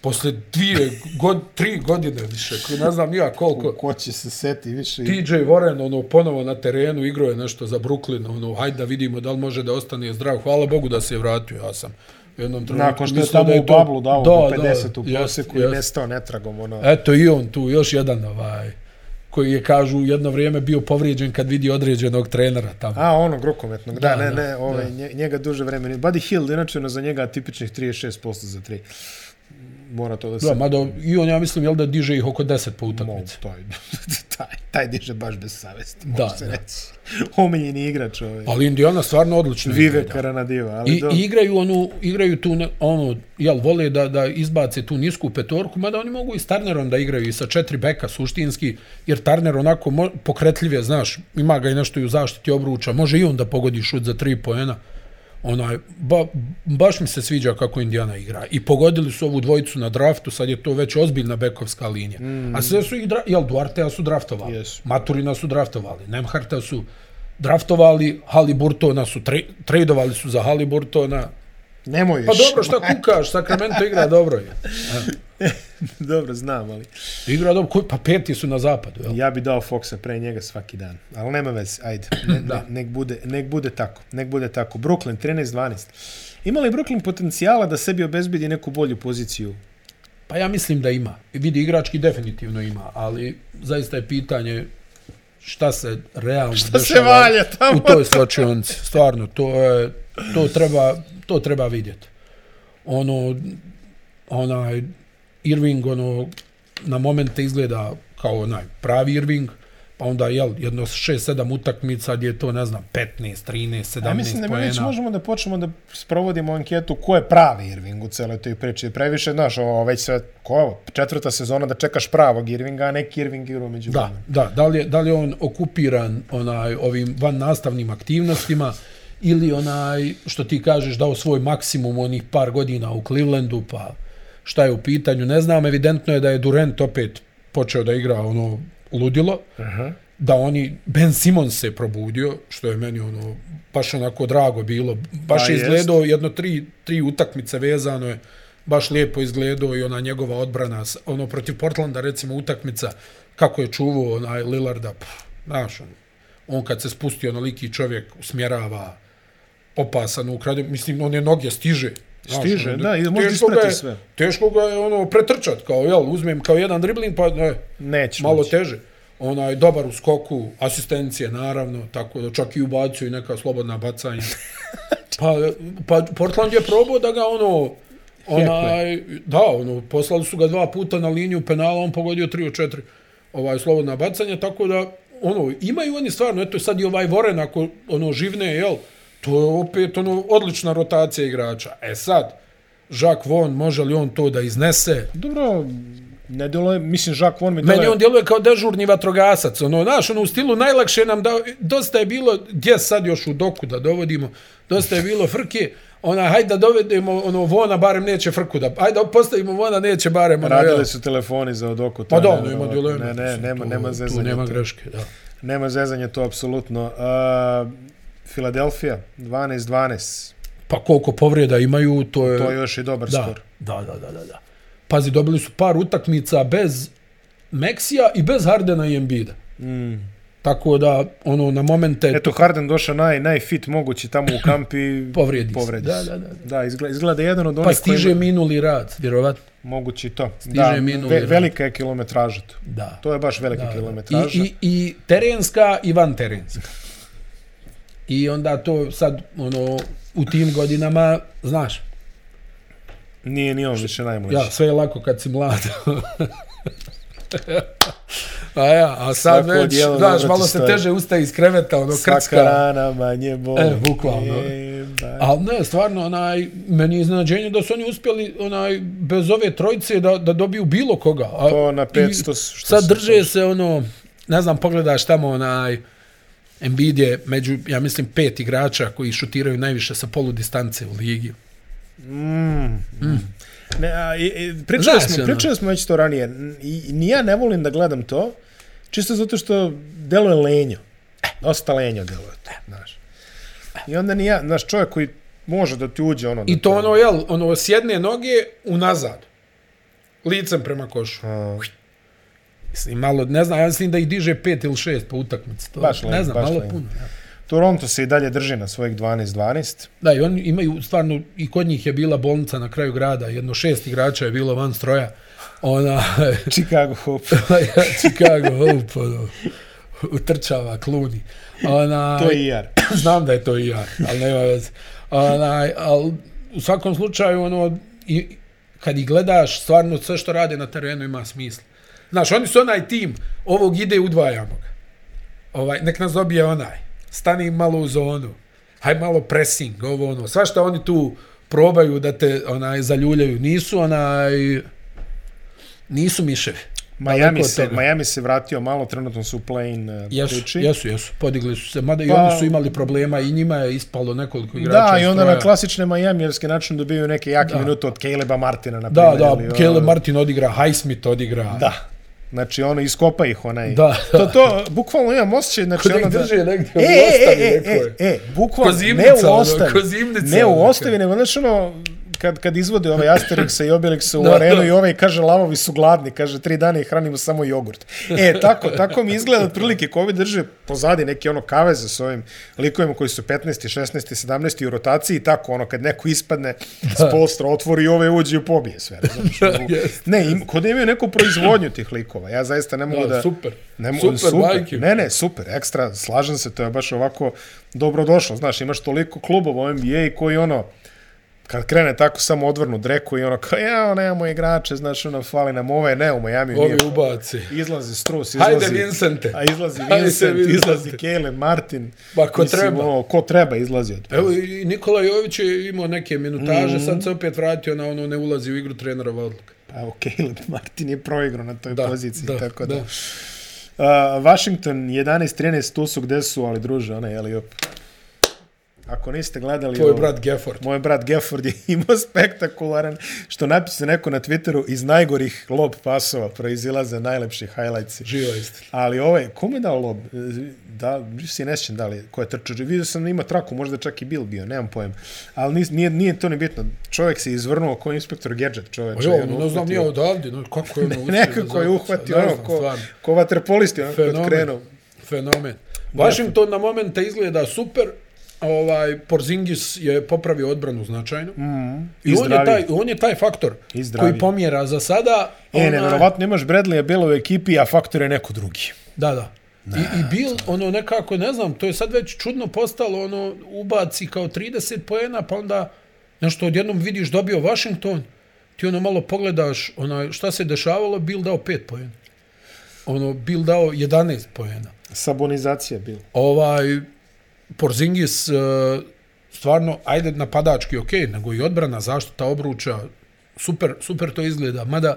B: posle dvije, god, tri godine više, koji ne znam nija koliko.
A: Ko će se seti više?
B: TJ Warren, ono, ponovo na terenu, igrao je nešto za Brooklyn, ono, hajde da vidimo da li može da ostane zdrav. Hvala Bogu da se je vratio, ja sam u jednom trenutku.
A: Nakon što je
B: mislio
A: tamo
B: da
A: u
B: to-
A: bablu dao da, 50 u
B: jest,
A: proseku i
B: jest. E.
A: nestao netragom, ono...
B: Eto i on tu, još jedan ovaj, koji je, kažu, jedno vrijeme bio povrijeđen kad vidi određenog trenera tamo.
A: A, onog rukometnog, da,
B: Da,
A: ne,
B: da,
A: ne, ovaj, nje- njega duže vremena. Buddy Hill, inače, ono, za njega tipičnih 36% za 3. Mora to da se...
B: Da, mada i on, ja mislim, jel da diže ih oko 10 po utakmici.
A: Mom, taj, taj, taj diže baš bez savesti,
B: Da,
A: može se
B: da.
A: reći. Omiljeni igrač, ovaj.
B: Ali Indiana stvarno odlično
A: Vive
B: igra.
A: Karanadiva, ali
B: I,
A: dobro.
B: I igraju onu, igraju tu, ne- ono, jel, vole da, da izbace tu nisku petorku, mada oni mogu i s Turnerom da igraju i sa četiri beka suštinski, jer Turner onako mo, pokretljiv je, znaš, ima ga i nešto i u zaštiti obruča, može i on da pogodi šut za tri poena. Onaj, ba, baš mi se sviđa kako Indiana igra. I pogodili su ovu dvojicu na draftu, sad je to već ozbiljna bekovska linija. Mm. A sve su ih, dra, jel, Duartea su draftovali,
A: Jesu.
B: Maturina su draftovali, Nemharta su draftovali, Haliburtona su, tre, tradovali su za Haliburtona.
A: Nemoj
B: Pa
A: još.
B: dobro, šta kukaš, Sacramento igra dobro je.
A: dobro, znam, ali
B: Igra dobro, koji- pa peti su na zapadu, jel?
A: ja bi dao Foxa pre njega svaki dan. Ali nema veze, ajde. Ne, ne, nek, bude, nek bude tako, nek bude tako. Brooklyn, 13-12. Ima li Brooklyn potencijala da sebi obezbedi neku bolju poziciju?
B: Pa ja mislim da ima. Vidi, igrački definitivno ima, ali zaista je pitanje šta se realno
A: Šta se
B: dešava
A: valja tamo?
B: u toj slačionci. Stvarno, to, je, to, treba, to treba vidjeti. Ono, onaj, Irving, ono, na momente izgleda kao onaj pravi Irving, pa onda, jel, jedno 6-7 utakmica gdje je to, ne znam, 15, 13, 17
A: Ja mislim da mi već
B: poena.
A: možemo da počnemo da sprovodimo anketu ko je pravi Irving u celoj toj priči. Jer Previše, znaš, ovo već sve, ko je ovo? Četvrta sezona da čekaš pravog Irvinga, a neki Irving igra među
B: Da, da, da li je, da li je on okupiran onaj ovim van nastavnim aktivnostima ili onaj što ti kažeš dao svoj maksimum onih par godina u Clevelandu, pa šta je u pitanju, ne znam, evidentno je da je Durant opet počeo da igra ono ludilo,
A: Aha.
B: da oni Ben Simons se probudio, što je meni ono baš onako drago bilo. Baš
A: Pa
B: je
A: jest.
B: izgledao jedno tri, tri utakmice vezano je baš lijepo izgledao i ona njegova odbrana s- ono protiv Portlanda recimo utakmica kako je čuvao onaj Lillarda, pff, znaš, on, on kad se spustio onoliki čovjek usmjerava opasan ukrade, mislim on je noge stiže. znaš,
A: Stiže,
B: ono,
A: da, i može da
B: teško ga
A: isprati
B: je-
A: sve.
B: Teško ga je ono pretrčat, kao jel, uzmem kao jedan dribling pa ne,
A: Neće.
B: malo
A: moći.
B: teže. Onaj dobar u skoku, asistencije naravno, tako da čak i ubacio i neka slobodna bacanja. pa, pa Portland je probao da ga ono onaj da, ono poslali su ga dva puta na liniju penala, on pogodio 3 od 4 ovaj slobodna bacanja, tako da ono imaju oni stvarno, eto sad i ovaj Voren ako ono živne, jel? To je opet ono odlična rotacija igrača. E sad Jacques Von, može li on to da iznese?
A: Dobro, ne djelo je, mislim, Jacques Von mi djelo
B: Meni
A: je...
B: on djeluje kao dežurni vatrogasac, ono, znaš, ono, u stilu najlakše nam da, dosta je bilo, gdje sad još u doku da dovodimo, dosta je bilo frke, ona, hajde da dovedemo, ono, Vona barem neće frku da, hajde da postavimo Vona, neće barem, ono,
A: Radili
B: jel.
A: su telefoni za odoko.
B: Pa da, ono, ima dilema.
A: Ne, ne,
B: mislim,
A: nema,
B: tu-
A: nema zezanja.
B: Tu nema
A: to.
B: greške, da.
A: Nema zezanja, to apsolutno. Uh, Filadelfija, 12-12.
B: Pa koliko povreda imaju, to je...
A: To je još i dobar
B: da,
A: skor.
B: da, da, da, da, da. Pazi, dobili su par utakmica bez Meksija i bez Hardena i Embida.
A: Mm.
B: Tako da, ono, na momente...
A: Eto, Harden došao naj, najfit mogući tamo u kampi.
B: Povredi se.
A: povredi
B: Da,
A: se.
B: da, da.
A: Da, izgleda, izgleda jedan od onih
B: Pa
A: koji
B: stiže minuli rad, vjerovatno.
A: mogući to.
B: Stiže
A: da,
B: minuli
A: ve,
B: rad.
A: velika je kilometraža tu.
B: Da.
A: To je baš velika da, kilometraža.
B: I, i, I terenska i van terenska. I onda to sad, ono, u tim godinama, znaš,
A: Nije ni on više najmlađi.
B: ja, sve je lako kad si mlad. a ja, a sad
A: Svako
B: već,
A: odijelo
B: znaš,
A: dobro ti
B: malo se
A: stoji.
B: teže ustaje iz kreveta, ono,
A: Svaka
B: krcka.
A: rana manje boli.
B: E, bukvalno.
A: Jebate.
B: Ali ne, stvarno, onaj, meni je iznenađenje da su oni uspjeli, onaj, bez ove trojice da, da dobiju bilo koga. A,
A: To na 500
B: i
A: što
B: Sad
A: se
B: drže se, ono, ne znam, pogledaš tamo onaj, Embiid je među, ja mislim, pet igrača koji šutiraju najviše sa polu distance u ligi.
A: Mm. Ne, a, i, i, pričali,
B: Znaš,
A: smo,
B: ono.
A: pričali smo već to ranije. N- I, i ni ja ne volim da gledam to, čisto zato što deluje lenjo. Dosta lenjo deluje to, znaš. I onda ni ja, znaš, čovjek koji može da ti uđe ono...
B: I
A: da
B: to
A: te-
B: ono, jel, ono, s jedne noge unazad. Licem prema košu.
A: A,
B: Mislim, malo, ne znam, ja mislim da ih diže pet ili šest po utakmici. To,
A: Baš
B: ne
A: lep,
B: znam,
A: baš
B: malo
A: lep.
B: puno. Ja.
A: Toronto se i dalje drži na svojih 12-12.
B: Da, i oni imaju, stvarno, i kod njih je bila bolnica na kraju grada, jedno šest igrača je bilo van stroja. Ona,
A: Chicago Hope.
B: Chicago Hope, ono, utrčava kluni. Ona,
A: To je IR.
B: znam da je to i ja, ali nema veze. Onaj, al, u svakom slučaju, ono, i, kad ih gledaš, stvarno sve što rade na terenu ima smisla. Znaš, oni su onaj tim, ovog ide udvajamo ga. Ovaj, nek nas dobije onaj. Stani im malo u zonu. Haj malo pressing, ovo ono. Sva što oni tu probaju da te onaj zaljuljaju. Nisu onaj... Nisu miševi.
A: Miami
B: Daleko od
A: se,
B: toga.
A: Miami se vratio malo, trenutno su u play-in yes,
B: Jesu,
A: priči.
B: jesu, jesu, podigli su se, mada i
A: Pa-
B: oni su imali problema i njima je ispalo nekoliko igrača.
A: Da,
B: iz
A: i onda na
B: stroja.
A: klasične Majamijevske način dobiju neke jake minute od Caleba Martina, na
B: Da,
A: primjer.
B: da,
A: ili,
B: Kele
A: ono,
B: Martin odigra, Highsmith odigra.
A: Da. Znači, ono, iskopa ih onaj.
B: Da, da.
A: To, to, bukvalno imam osjećaj, znači,
B: Ko da
A: ono
B: ih
A: da...
B: drže negdje
A: E,
B: u
A: e,
B: ostavi
A: e,
B: nekoj.
A: e, e, bukvalno,
B: Ko
A: ne
B: zimnica,
A: u
B: ono,
A: ostavi,
B: ko zimnica,
A: ne u
B: ono,
A: ostavi, nego, znaš, ono, kad, kad izvode ove Asterixa i Obelixa u
B: Da,
A: arenu
B: da.
A: i ovaj kaže lavovi su gladni, kaže tri dana ih hranimo samo jogurt. E, tako, tako mi izgleda otprilike ko ovi drže pozadi neke ono kaveze s ovim likovima koji su 15. 16. 17. u rotaciji i tako, ono, kad neko ispadne s polstra, otvori i ove uđe i pobije sve, razumiješ? ne, im, kod imaju neku proizvodnju tih likova, ja zaista ne mogu
B: Da,
A: da...
B: super.
A: Ne, mo-
B: Super, bajke.
A: Ne, ne, super, ekstra, slažem se, to je baš ovako dobrodošlo, znaš, imaš toliko klubova u NBA koji ono, kad krene tako samo odvrnu dreku i ono kao, ja, nemamo igrače, znaš, ono, fali nam ove, ne, u Miami
B: Ovi
A: nije.
B: ubaci.
A: Izlazi Strus, izlazi...
B: Hajde, Vincente.
A: A izlazi
B: Hajde,
A: Vincent,
B: Vincente.
A: izlazi Caleb Martin.
B: Pa, ko treba.
A: Ono, ko treba, izlazi od
B: Evo, i Nikola Jović je imao neke minutaže,
A: Mhm.
B: sad se opet vratio na ono ne ulazi u igru trenerova odluka.
A: Pa evo, Caleb Martin je proigrao na toj
B: Da,
A: poziciji,
B: da,
A: tako da.
B: da.
A: da. Uh, Washington 11-13, tu su gde su, ali druže, onaj, jeli op. Ako niste gledali...
B: Tvoj
A: ovo-
B: brat Gefford.
A: Moj brat Gefford je imao spektakularan, što napise neko na Twitteru, iz najgorih lob pasova proizilaze najlepši highlightsi.
B: Živa istina.
A: Ali ovaj, ko mu je dao lob? E, Da, više se ne sjećam da li, ko je trčao. Vidio sam da ima traku, možda je čak i Bill bio, nemam pojma. Ali nis- nije, nije to ni bitno. Čovjek se izvrnuo kao inspektor Gadget, čovjek.
B: Jo, ono, ne znam, nije odavde, no, kako je ono uspio da
A: Nekako je
B: zakuca,
A: uhvatio,
B: ne
A: ono,
B: znam,
A: ko,
B: stvarno.
A: ko vaterpolisti, ono, kad
B: Fenomen.
A: krenuo.
B: Fenomen. Washington na momente izgleda super, ovaj Porzingis je popravio odbranu značajno. Mm, I,
A: I
B: on je,
A: zdraviji.
B: taj, on je taj faktor
A: I zdraviji.
B: koji pomjera za sada.
A: E,
B: onaj-
A: ne, verovatno imaš Bradley-a bilo u ekipi, a faktor je neko drugi.
B: Da, da. I, I Bill, ono nekako, ne znam, to je sad već čudno postalo, ono, ubaci kao 30 poena, pa onda nešto odjednom vidiš dobio Washington, ti ono malo pogledaš onaj, šta se dešavalo, Bill dao 5 poena. Ono, Bill dao 11 poena.
A: Sabonizacija bila.
B: Ovaj, Porzingis, e, stvarno, ajde napadački, ok, nego i odbrana, zaštita obruča, super, super to izgleda, mada,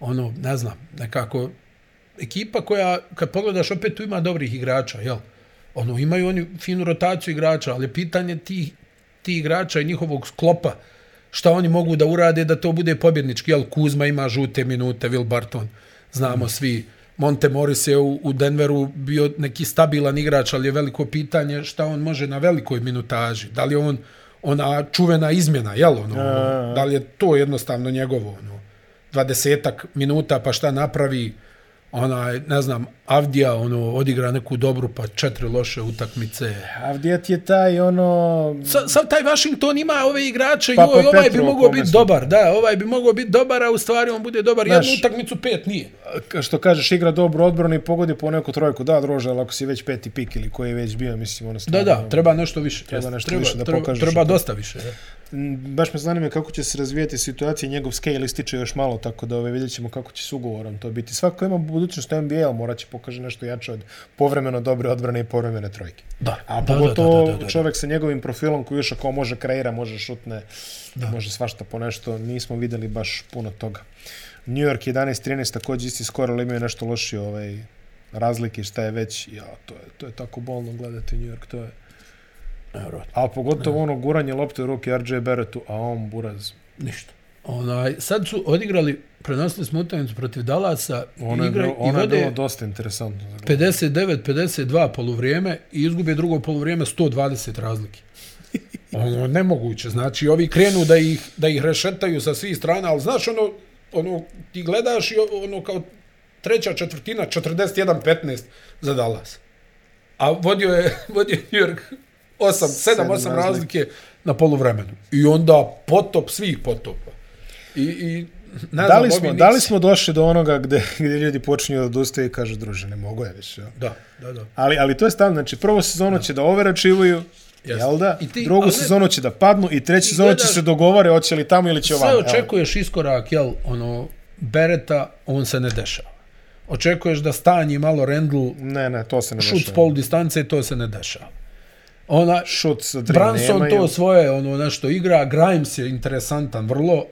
B: ono, ne znam, nekako, ekipa koja, kad pogledaš, opet tu ima dobrih igrača, jel? Ono, imaju oni finu rotaciju igrača, ali pitanje tih, ti igrača i njihovog sklopa, šta oni mogu da urade da to bude pobjednički, jel? Kuzma ima žute minute, Will Barton, znamo svi. Monte Morris je u, u Denveru bio neki stabilan igrač, ali je veliko pitanje šta on može na velikoj minutaži. Da li je on ona čuvena izmjena, jel? Ono, da li je to jednostavno njegovo, ono, dvadesetak minuta, pa šta napravi, onaj, ne znam, Avdija ono odigra neku dobru pa četiri loše utakmice.
A: Avdija ti je taj ono...
B: Sa, sav taj Washington ima ove igrače,
A: Pa,
B: pa,
A: pa
B: joj, ovaj bi
A: Petrov
B: mogao biti
A: pomesno.
B: dobar, da, ovaj bi mogao biti dobar, a u stvari on bude dobar
A: Znaš-
B: Znaš, jednu utakmicu, pet nije.
A: k- što kažeš, igra dobro odbranu i pogodi po neku trojku. Da, druže, ali ako si već peti pik ili koji je već bio, mislim, ono
B: Da,
A: stvarno-
B: da, treba nešto više.
A: Treba nešto
B: treba,
A: više da
B: treba,
A: pokažeš
B: Treba
A: i to.
B: dosta više. Da.
A: M, Mm, Baš me zanima kako će se razvijati situacija, njegov scale ističe još malo, tako da ove, vidjet ćemo kako će s ugovorom to biti. Svako ima budućnost u NBA, ali morat će pokaže nešto jače od povremeno dobre odbrane i povremene trojke.
B: Da,
A: A
B: da,
A: pogotovo
B: da, da, da, da.
A: čovjek sa njegovim profilom koji još ako može kreira, može šutne, da. može svašta po nešto, nismo videli baš puno toga. New York 11-13 također isti skor, ali imaju nešto lošije ovaj, razlike, šta je već, ja, to je, to je tako bolno gledati New York, to je.
B: Evo,
A: A pogotovo ono guranje lopte u ruke RJ Barrettu, a on buraz.
B: Ništa. Onaj, sad su odigrali, prenosili smo utakmicu protiv Dalasa,
A: Ono je,
B: igra
A: bilo,
B: i
A: ono je bilo
B: vode
A: dosta interesantno. za gledanje.
B: 59-52 poluvrijeme i izgube drugo poluvrijeme 120 razlike. Ono, nemoguće. Znači, ovi krenu da ih, da ih rešetaju sa svih strana, ali znaš, ono, ono ti gledaš i ono kao treća četvrtina, 41-15 za Dallas. A vodio je, vodio je New York 8, 7,
A: Sedam
B: 8
A: razlike.
B: razlike na poluvremenu. I onda potop svih potopa. I, i ne
A: Da
B: znam,
A: li,
B: ovi
A: smo,
B: Knicks-
A: da li smo došli do onoga gde, gde ljudi počinju da odustaju i kažu, druže, ne mogu ja više. ja."
B: Da, da, da.
A: Ali, ali to je stalno, znači prvu sezonu će da overačivaju,
B: Jeste.
A: jel da?
B: I ti-
A: Drugu
B: ali ne-
A: sezonu će da padnu i treću
B: I
A: sezonu će
B: gledaš-
A: se dogovore hoće li tamo ili će ovamo.
B: Sve
A: Znači, evo.
B: očekuješ iskorak, jel, ono, Bereta, on se ne dešava. Očekuješ da stanji malo Rendl,
A: Ne, ne, to se ne
B: šut s
A: dešava.
B: pol distance, to se ne dešava. Ona,
A: Šut sa tri
B: Branson
A: nemaju.
B: to svoje, ono, nešto igra, Grimes je interesantan, vrlo,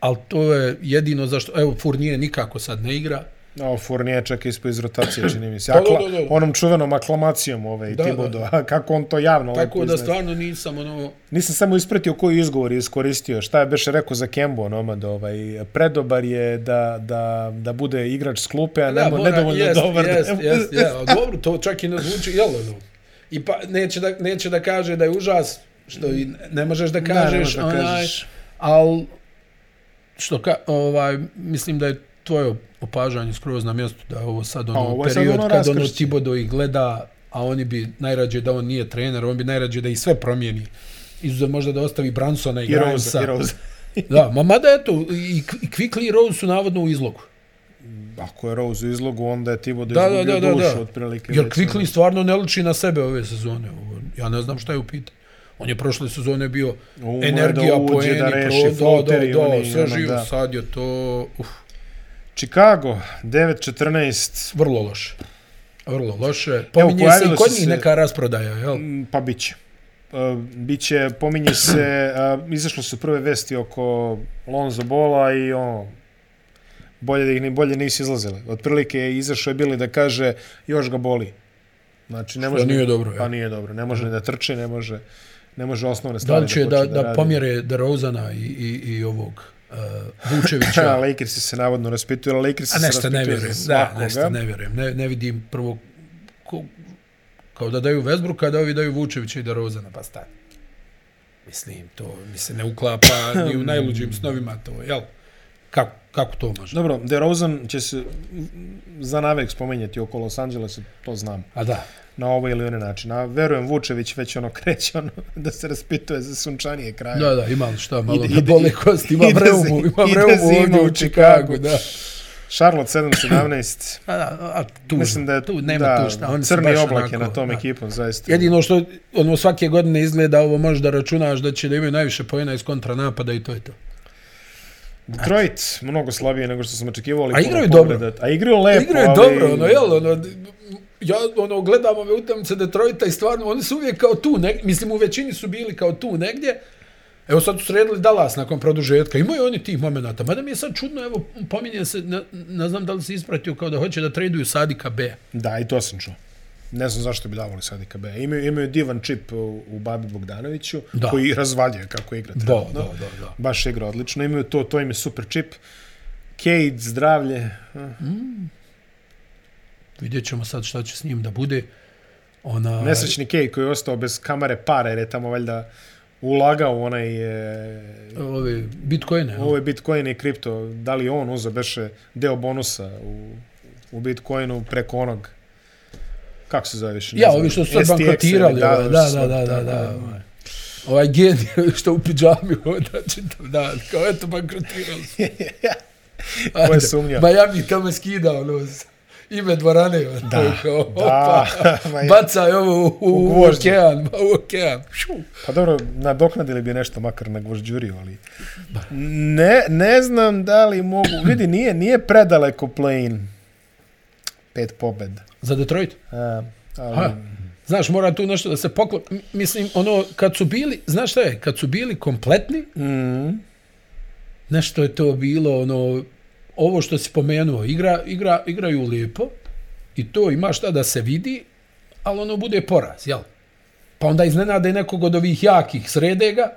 B: ali to je jedino zašto, evo, Fournier nikako sad ne igra.
A: No, Fournier čak ispo iz rotacije, čini mi se.
B: Pa, da, da,
A: Akla,
B: da.
A: onom čuvenom aklamacijom ovaj,
B: Da, da.
A: Tibodo, kako on to javno lepo
B: Tako da
A: iznese.
B: stvarno nisam, ono,
A: Nisam samo ispratio koji izgovor je iskoristio. Šta je Beše rekao za Kembo Nomad? Ovaj, predobar je da, da, da bude igrač s klupe, a nemo,
B: mora-
A: Pa nedovoljno
B: jest,
A: dobar. da-
B: Jest, jest, jest, ali dobro, to čak i ne zvuči, jel ono? I pa neće da, neće da kaže da je užas, što i ne možeš da
A: Da, ne možeš
B: kažeš,
A: da
B: onaj,
A: kažeš.
B: al što ka, ovaj, mislim da je tvoje opažanje skroz na mjestu da je ovo sad ono
A: A, ovo je sad
B: period
A: ono
B: kad ono
A: raskršće.
B: Tibodo ih gleda, a oni bi najrađe da on nije trener, on bi najrađe da i sve promijeni. Izuzev možda da ostavi Bransona i
A: I Rose,
B: Grimesa.
A: i Rose.
B: Da, ma mada eto, i, i Quickly i Rose su navodno u izlogu.
A: Ako je Rose u izlogu, onda je Tibodo
B: Da, da,
A: izgubio
B: da, da,
A: dušu,
B: da.
A: otprilike.
B: Jer
A: već,
B: Quickly stvarno ne liči na sebe ove sezone. Ovo, Ja ne znam šta je u pitanju. On je prošle sezone bio
A: Umo je da
B: energija,
A: uđe,
B: poeni,
A: da
B: da
A: reši
B: pro, da,
A: floteri,
B: da, da,
A: oni,
B: sve
A: ono,
B: živo.
A: da.
B: Sad je to uf,
A: ono. Chicago, 9-14,
B: vrlo loše. Vrlo loše. Pominje se
A: pojavile
B: i kod
A: su
B: njih
A: se-
B: neka rasprodaja, jel?
A: Mm, pa bit će. Uh, Biće, pominje se, uh, izašle su prve vesti oko Lonzo Bola i ono, bolje da ih ni bolje nisu izlazile. Otprilike je izašao je bili da kaže još ga boli. Znači ne
B: Što
A: može
B: nije dobro,
A: Pa
B: ja.
A: nije dobro, ne može ni da trči, ne može ne može osnovne
B: Da
A: stvari.
B: li će da,
A: počne
B: da,
A: radi.
B: pomjere DeRozana i, i, i ovog uh, Vučevića?
A: Ha, Lakersi se navodno raspituju, ali Lakersi
B: A
A: se
B: nešto
A: raspituju
B: ne
A: za
B: vjerujem, da,
A: svakoga.
B: nešto ne vjerujem. Ne, ne vidim prvo ko, kao da daju Vesbruka, da ovi daju Vučevića i da Rozana, pa stani. Mislim, to mi se ne uklapa ni u najluđim snovima to, jel? Kako, kako to može?
A: Dobro, DeRozan će se za navek spomenjati oko Los Angelesa, to znam.
B: A da,
A: na ovaj ili onaj način. A verujem Vučević već ono kreće ono da se raspituje za sunčanije kraje.
B: da, da, ima li šta, malo
A: Ide-
B: ide,
A: ide-
B: bole kosti, ima
A: ide
B: vreumu,
A: zi-
B: ima
A: ide
B: vreumu
A: zima
B: ovdje
A: u
B: u Čikagu, da.
A: Charlotte 717.
B: A, da, a tužno,
A: Mislim da je
B: tu nema
A: da,
B: tu šta. Oni su
A: crni
B: baš
A: oblak je
B: onako,
A: na tom
B: da.
A: ekipom, zaista.
B: Jedino što ono svake godine izgleda ovo možeš da računaš da će da imaju najviše pojena iz kontranapada i to je to.
A: Detroit, mnogo slabije nego što sam očekivao. ali
B: A
A: puno
B: igraju
A: povreda. A igraju lepo.
B: Igraju
A: ali-
B: dobro, ono, jel, ono, ja ono, gledam ove utamce Detroita i stvarno, oni su uvijek kao tu, neg, mislim, u većini su bili kao tu negdje, Evo sad su sredili Dallas nakon produžetka. Imaju oni tih momenata. Mada mi je sad čudno, evo, pominje se, ne, ne znam da li si ispratio kao da hoće da traduju Sadika B.
A: Da, i to sam čuo. Ne znam zašto bi davali sad IKB. Imaju, imaju divan čip u, u Babi Bogdanoviću,
B: Da.
A: koji razvaljuje kako igra. trenutno.
B: da, da.
A: Baš igra odlično. Imaju to, to im je super čip. Cade, zdravlje.
B: Pa, Vidjet ćemo sad šta će s njim da bude. Ona,
A: Nesrećni Kej koji je ostao bez kamare para jer je tamo valjda ulagao u onaj e,
B: Ove, Bitcoine.
A: ove Bitcoin i kripto. Da li je on uzeo beše deo bonusa u, u Bitcoinu preko onog kako se zove više? ne
B: Ja,
A: znam,
B: ovi što su sad
A: STX ili
B: bankrotirali, ovaj, da,
A: su
B: da, da,
A: smrt,
B: da, da. Ovaj genij što u pidžami hoda čitav dan, kao eto bankrotirali su.
A: Ko
B: Ajde,
A: je sumnjao?
B: Miami tamo skida ono s- ime dvorane, ono, da, kao, opa,
A: ma je.
B: bacaj ovo u, u,
A: U
B: u
A: gvožđe.
B: okean, ma, u okean. Šu.
A: Pa dobro, nadoknadili bi nešto makar na gvožđuriju, ali... Ne, ne znam da li mogu... Vidi, nije, nije predaleko play-in. Pet pobed.
B: Za Detroit?
A: A, ali,
B: Ha. Znaš, mora tu nešto da se poklop... M- Mislim, ono, kad su bili, znaš šta je, kad su bili kompletni,
A: Mm,
B: nešto je to bilo, ono, ovo što si pomenuo, igra, igra, igraju lijepo i to ima šta da se vidi, ali ono bude poraz, jel? Pa onda iznenade nekog od ovih jakih, srede ga,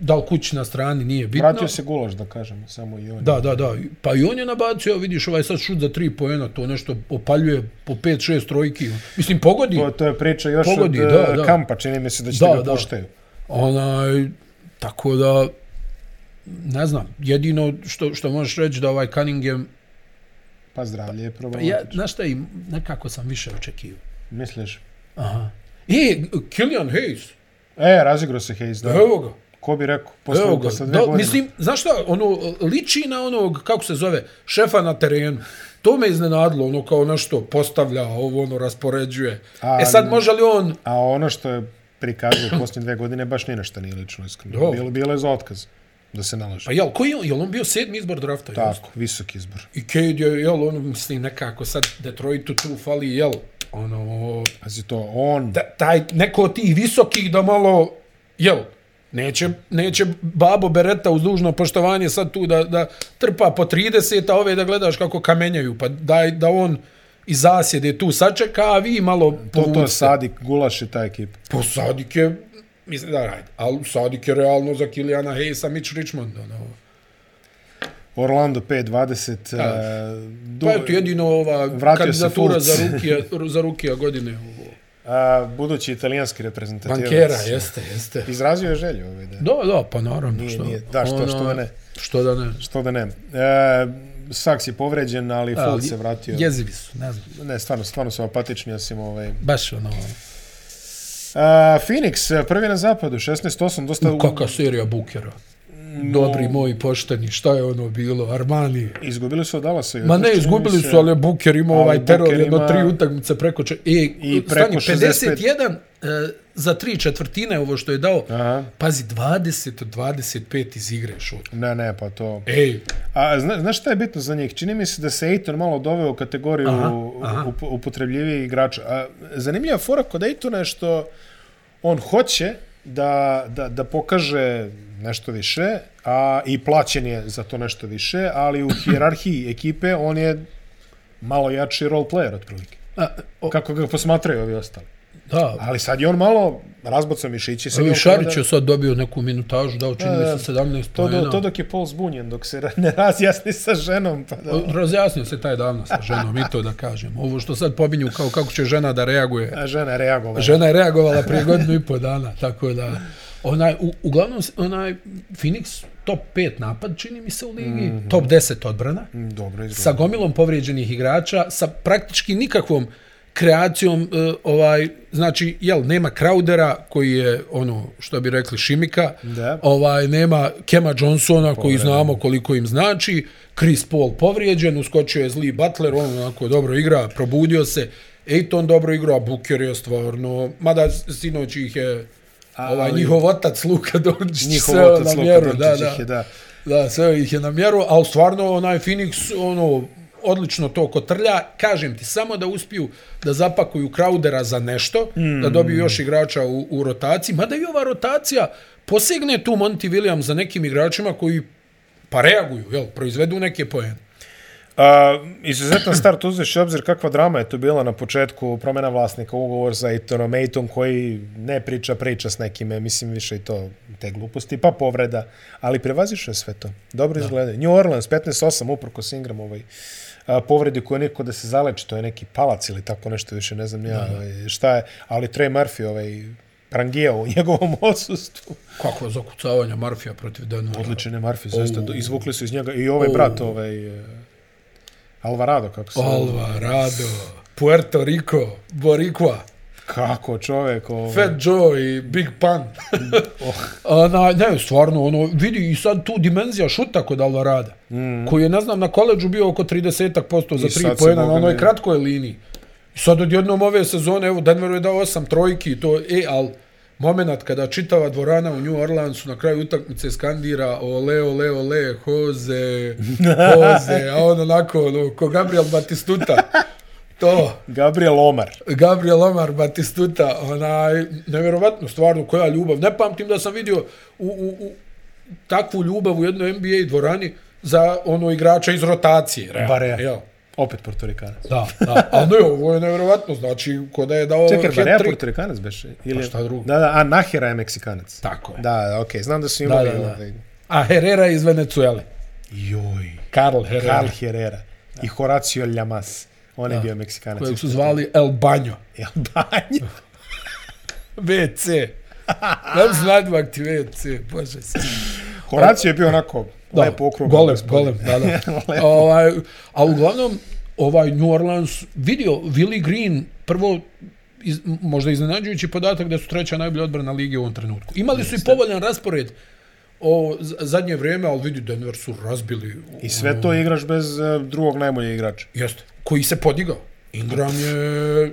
B: da li kući na strani, nije bitno.
A: vratio se gulaš, da kažem, samo i on.
B: Da, da, da. Pa i on je nabacio, vidiš, ovaj sad šut za tri pojena, to nešto opaljuje po pet, šest trojki. Mislim, pogodi.
A: To, to je priča još
B: Pogodi,
A: od
B: da,
A: eh,
B: da.
A: kampa, čini mi se da će
B: Da,
A: da,
B: da.
A: ga puštaju.
B: Onaj, tako da, ne znam, jedino što, što možeš reći da ovaj Cunningham,
A: Pa zdravlje je
B: ja,
A: problematično.
B: znaš šta, i nekako sam više očekivao.
A: Misliš?
B: Aha. E, Killian Hayes,
A: E, razigrao se Hayes, da.
B: evo ga.
A: Ko bi rekao? Posle,
B: Evo ga,
A: posle dve
B: da,
A: godine.
B: mislim, znaš šta, ono, liči na onog, kako se zove, šefa na terenu. To me iznenadilo, ono kao nešto postavlja, ovo ono raspoređuje.
A: A,
B: e sad može li on,
A: A ono što je prikazao posljednje dve godine baš ni našta nije lično
B: Do.
A: iskreno. Bilo, bilo je za otkaz, da se nalaže.
B: pa jel, koji je on, jel on bio sedmi izbor drafta? jel?
A: Tako, visok izbor.
B: I Cade je, jel, ono, mislim, nekako sad Detroitu tu fali, jel, ono,
A: Pazi to, on,
B: da, taj, neko od tih visokih da malo, jel, neće, neće babo Bereta uz dužno poštovanje sad tu da, da trpa po 30, a ove da gledaš kako kamenjaju, pa daj da on iz zasjede tu sačeka, a vi malo
A: to, to
B: povucite.
A: je Sadik, Gulaš i ta ekipa.
B: Po Sadik je, mislim da radi, ali Sadik je realno za Kilijana Hayesa, Mitch Richmond, ono.
A: Orlando 5-20. e,
B: Pa eto,
A: du-
B: jedino ova
A: Vratio se
B: kandidatura
A: Fultz.
B: za rukija, za rukija godine ovo.
A: a, eh, budući italijanski reprezentativac.
B: Bankera, jeste, jeste.
A: Izrazio je želju ovaj da.
B: Da, da, pa naravno.
A: Nije,
B: što, ono,
A: nije, da, što- što da ne.
B: Što da ne.
A: Što da ne. E, Saks je povređen, ali
B: Da,
A: Fultz se vratio.
B: Jezivi su, ne znam.
A: Ne, stvarno, stvarno su apatični, osim ovaj...
B: Baš ono,
A: A, Phoenix, e, prvi na zapadu, 16-8, dosta... Pa u-
B: kakva serija Bukera. Dobri moji pošteni, šta je ono bilo, Armani.
A: Izgubili su od Dallasa.
B: Ma ne,
A: jutros,
B: izgubili
A: čini mi se.
B: su, ali je Buker imao ovaj
A: Booker
B: teror, jedno
A: ima-
B: tri utakmice preko... Če... E, I
A: preko
B: preko stani,
A: 65.
B: 51 e, za tri četvrtine ovo što je dao.
A: Aha.
B: Pazi, 20 od 25 iz igre E, šut.
A: Ne, ne, pa to...
B: Ej,
A: A zna, znaš šta je bitno za njih? Čini mi se da se Ejton malo doveo u kategoriju
B: Aha,
A: aha,
B: aha.
A: aha. Up, upotrebljivijih igrača. A, zanimljiva fora kod Ejtona je što on hoće da, da, da pokaže nešto više, a i plaćen je za to nešto više, ali u hijerarhiji ekipe on je malo jači role player otprilike.
B: a, o,
A: Kako ga posmatraju ovi ostali.
B: da,
A: Ali sad je on malo razbacao mišići. sad je
B: Ovi
A: on kao
B: Šarić je ono- sad dobio neku minutažu, dao čini mi
A: E,
B: se 17
A: To,
B: pojena.
A: do, to dok je Paul zbunjen, dok se ra- ne razjasni sa ženom. Pa da,
B: E, Razjasnio se taj davno sa ženom, i to da kažem. Ovo što sad pominju kao kako će žena da reaguje.
A: a žena je reagovala.
B: Žena je reagovala prije godinu i po dana, tako da... Onaj, u, uglavnom, onaj Phoenix top 5 napad čini mi se u ligi, mm -hmm. top 10 odbrana,
A: Mm, Dobro,
B: sa
A: izgleda.
B: gomilom povrijeđenih igrača, sa praktički nikakvom kreacijom, e, ovaj, znači, jel, nema Crowdera koji je, ono, što bi rekli, Šimika,
A: Da.
B: ovaj, nema Kema Johnsona koji znamo koliko im znači, Chris Paul povrijeđen, uskočio je zli Butler, on onako dobro igra, probudio se, Ejton dobro igra, Booker je stvarno, mada sinoć ih je ovaj,
A: Ali-
B: njihov otac Luka Dončić
A: Njihov
B: sveo
A: otac
B: na
A: Luka
B: mjeru, da,
A: Dončić ih
B: da.
A: je, da.
B: Da, sve ih je na mjeru, ali stvarno onaj Phoenix, ono, odlično to kotrlja. Kažem ti, samo da uspiju da zapakuju Crowdera za nešto, mm.
A: Hmm.
B: da dobiju još igrača u, u rotaciji, mada i ova rotacija posegne tu Monty Williams za nekim igračima koji pa reaguju, jel, proizvedu neke poene.
A: A, izuzetan start uzeš u obzir kakva drama je tu bila na početku promjena vlasnika, ugovor za Ejtonom, Ejton koji ne priča, priča s nekime, mislim više i to te gluposti, pa povreda, ali prevazišao je sve to. Dobro izgleda. New Orleans 15-8 uprko s Ingram ovaj a, povredi koju niko da se zaleči, to je neki palac ili tako nešto više, ne znam ni ja ovaj, šta je, ali Trey Murphy ovaj prangijao u njegovom odsustvu.
B: Kako zakucavanja Marfija protiv Denvera.
A: Odličan je Murphy, zaista. do- Izvukli su iz njega i ovaj brat, ovaj... eh, Alvarado, e, kako se... zove.
B: Alvarado. Puerto Rico, Boricua,
A: Kako čovjek ovaj, ovo?
B: Fat Joe i Big Pun.
A: Oh.
B: Ona, ne, stvarno, ono, vidi i sad tu dimenzija šuta kod Alvarada, mm. koji je, ne znam, na koleđu bio oko 30% za
A: I
B: tri
A: sad se
B: pojena na
A: Boga
B: onoj
A: mi-
B: kratkoj liniji. I sad odjednom ove sezone, evo, Denveru je dao osam trojki i to, e, al moment kada čitava dvorana u New Orleansu na kraju utakmice skandira ole, ole, ole, Jose, Jose, a on onako, ono, ko Gabriel Batistuta. To.
A: Gabriel Omar.
B: Gabriel Omar Batistuta, onaj, nevjerovatno, stvarno, koja ljubav. Ne pamtim da sam vidio u, u, u takvu ljubav u jednoj NBA dvorani za ono igrača iz rotacije. Real,
A: Barea.
B: Jel?
A: Opet Portorikanac.
B: Da, da. A ne, ovo je nevjerovatno, znači, ko da je dao
A: Čekaj, Barea
B: hat-trick.
A: Portorikanac beše? Ili...
B: Pa šta drugo?
A: Da, da, a Nahera je Meksikanac.
B: Tako je. Da.
A: Da, okej, znam da su imali...
B: Da, da, da.
A: ovaj-
B: A Herrera iz Venecuele.
A: Joj,
B: Karl Herrera.
A: Carl Herrera i Horacio Llamas. On je bio Meksikanac.
B: Kojeg su zvali El Banjo.
A: Jel, Banjo?
B: VC. Nam znadvak ti VC, bože se.
A: Horacio je bio onako
B: da,
A: lepo okrugao.
B: golem, golem, da, da. ovaj, a uglavnom, ovaj New Orleans vidio Willie Green prvo iz, možda iznenađujući podatak da su treća najbolja odbrana lige u ovom trenutku. Imali su i povoljan raspored o z- zadnje vrijeme, ali vidi Denver su razbili.
A: I sve
B: Mm.
A: to igraš bez eh, drugog najboljeg igrača.
B: Jeste. Koji se podigao. Ingram je...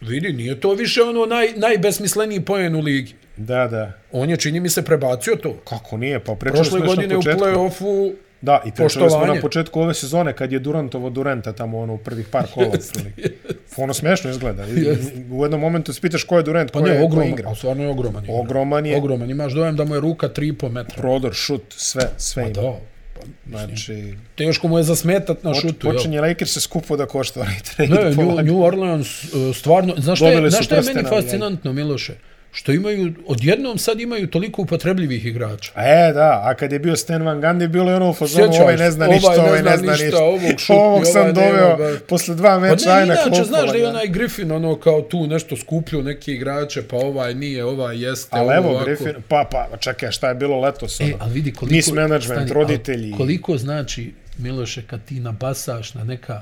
B: Vidi, nije to više ono naj, najbesmisleniji poen u ligi.
A: Da, da.
B: On je, čini mi se, prebacio to.
A: Kako nije? Pa pričali smo
B: Prošle
A: još na
B: godine u
A: početku.
B: play-offu
A: Da, i pričali smo na
B: Poštovanje.
A: početku ove sezone kad je Durantovo Duranta tamo ono u prvih par kola. otprilike. Ono smešno izgleda. I- U jednom momentu spitaš ko je Durant, ko
B: Pa
A: je
B: ne,
A: ko
B: ogroman,
A: igra.
B: ali stvarno je ogroman. igrač.
A: Ogroman je.
B: Ogroman, imaš dojem da mu je ruka 3,5 metra.
A: Prodor, šut, sve, sve ima.
B: Da,
A: Znači,
B: teško mu je zasmetat na
A: poč,
B: šutu. jel?
A: počinje Lakers se skupo da košta onaj trade.
B: Ne, New,
A: polako.
B: New Orleans, e, stvarno, znaš što
A: Dobili
B: je,
A: su
B: znaš što je
A: prste
B: meni
A: na-
B: fascinantno, Miloše? Što imaju, odjednom sad imaju toliko upotrebljivih igrača.
A: E, da, a kad je bio Stan Van Gundy, bilo je ono u fazonu,
B: Sjećaš
A: ovaj
B: se,
A: ne zna ništa,
B: ovaj ne
A: ovaj ne
B: zna
A: zna
B: ništa,
A: ništa.
B: ovog šutni,
A: Ovog sam
B: ovaj nema
A: doveo
B: ga.
A: posle dva
B: Pa
A: meča,
B: ne,
A: ajna
B: inače,
A: kopala.
B: znaš da je onaj Griffin, ono, kao tu nešto skupljio neke igrače, pa ovaj nije, ovaj jeste,
A: Ali
B: ovo
A: evo,
B: ovako.
A: Griffin, pa, pa, čekaj, šta je bilo letos?
B: E,
A: ono?
B: ali vidi koliko...
A: Miss management,
B: stani, ali
A: roditelji.
B: Koliko znači, Miloše, kad ti nabasaš na neka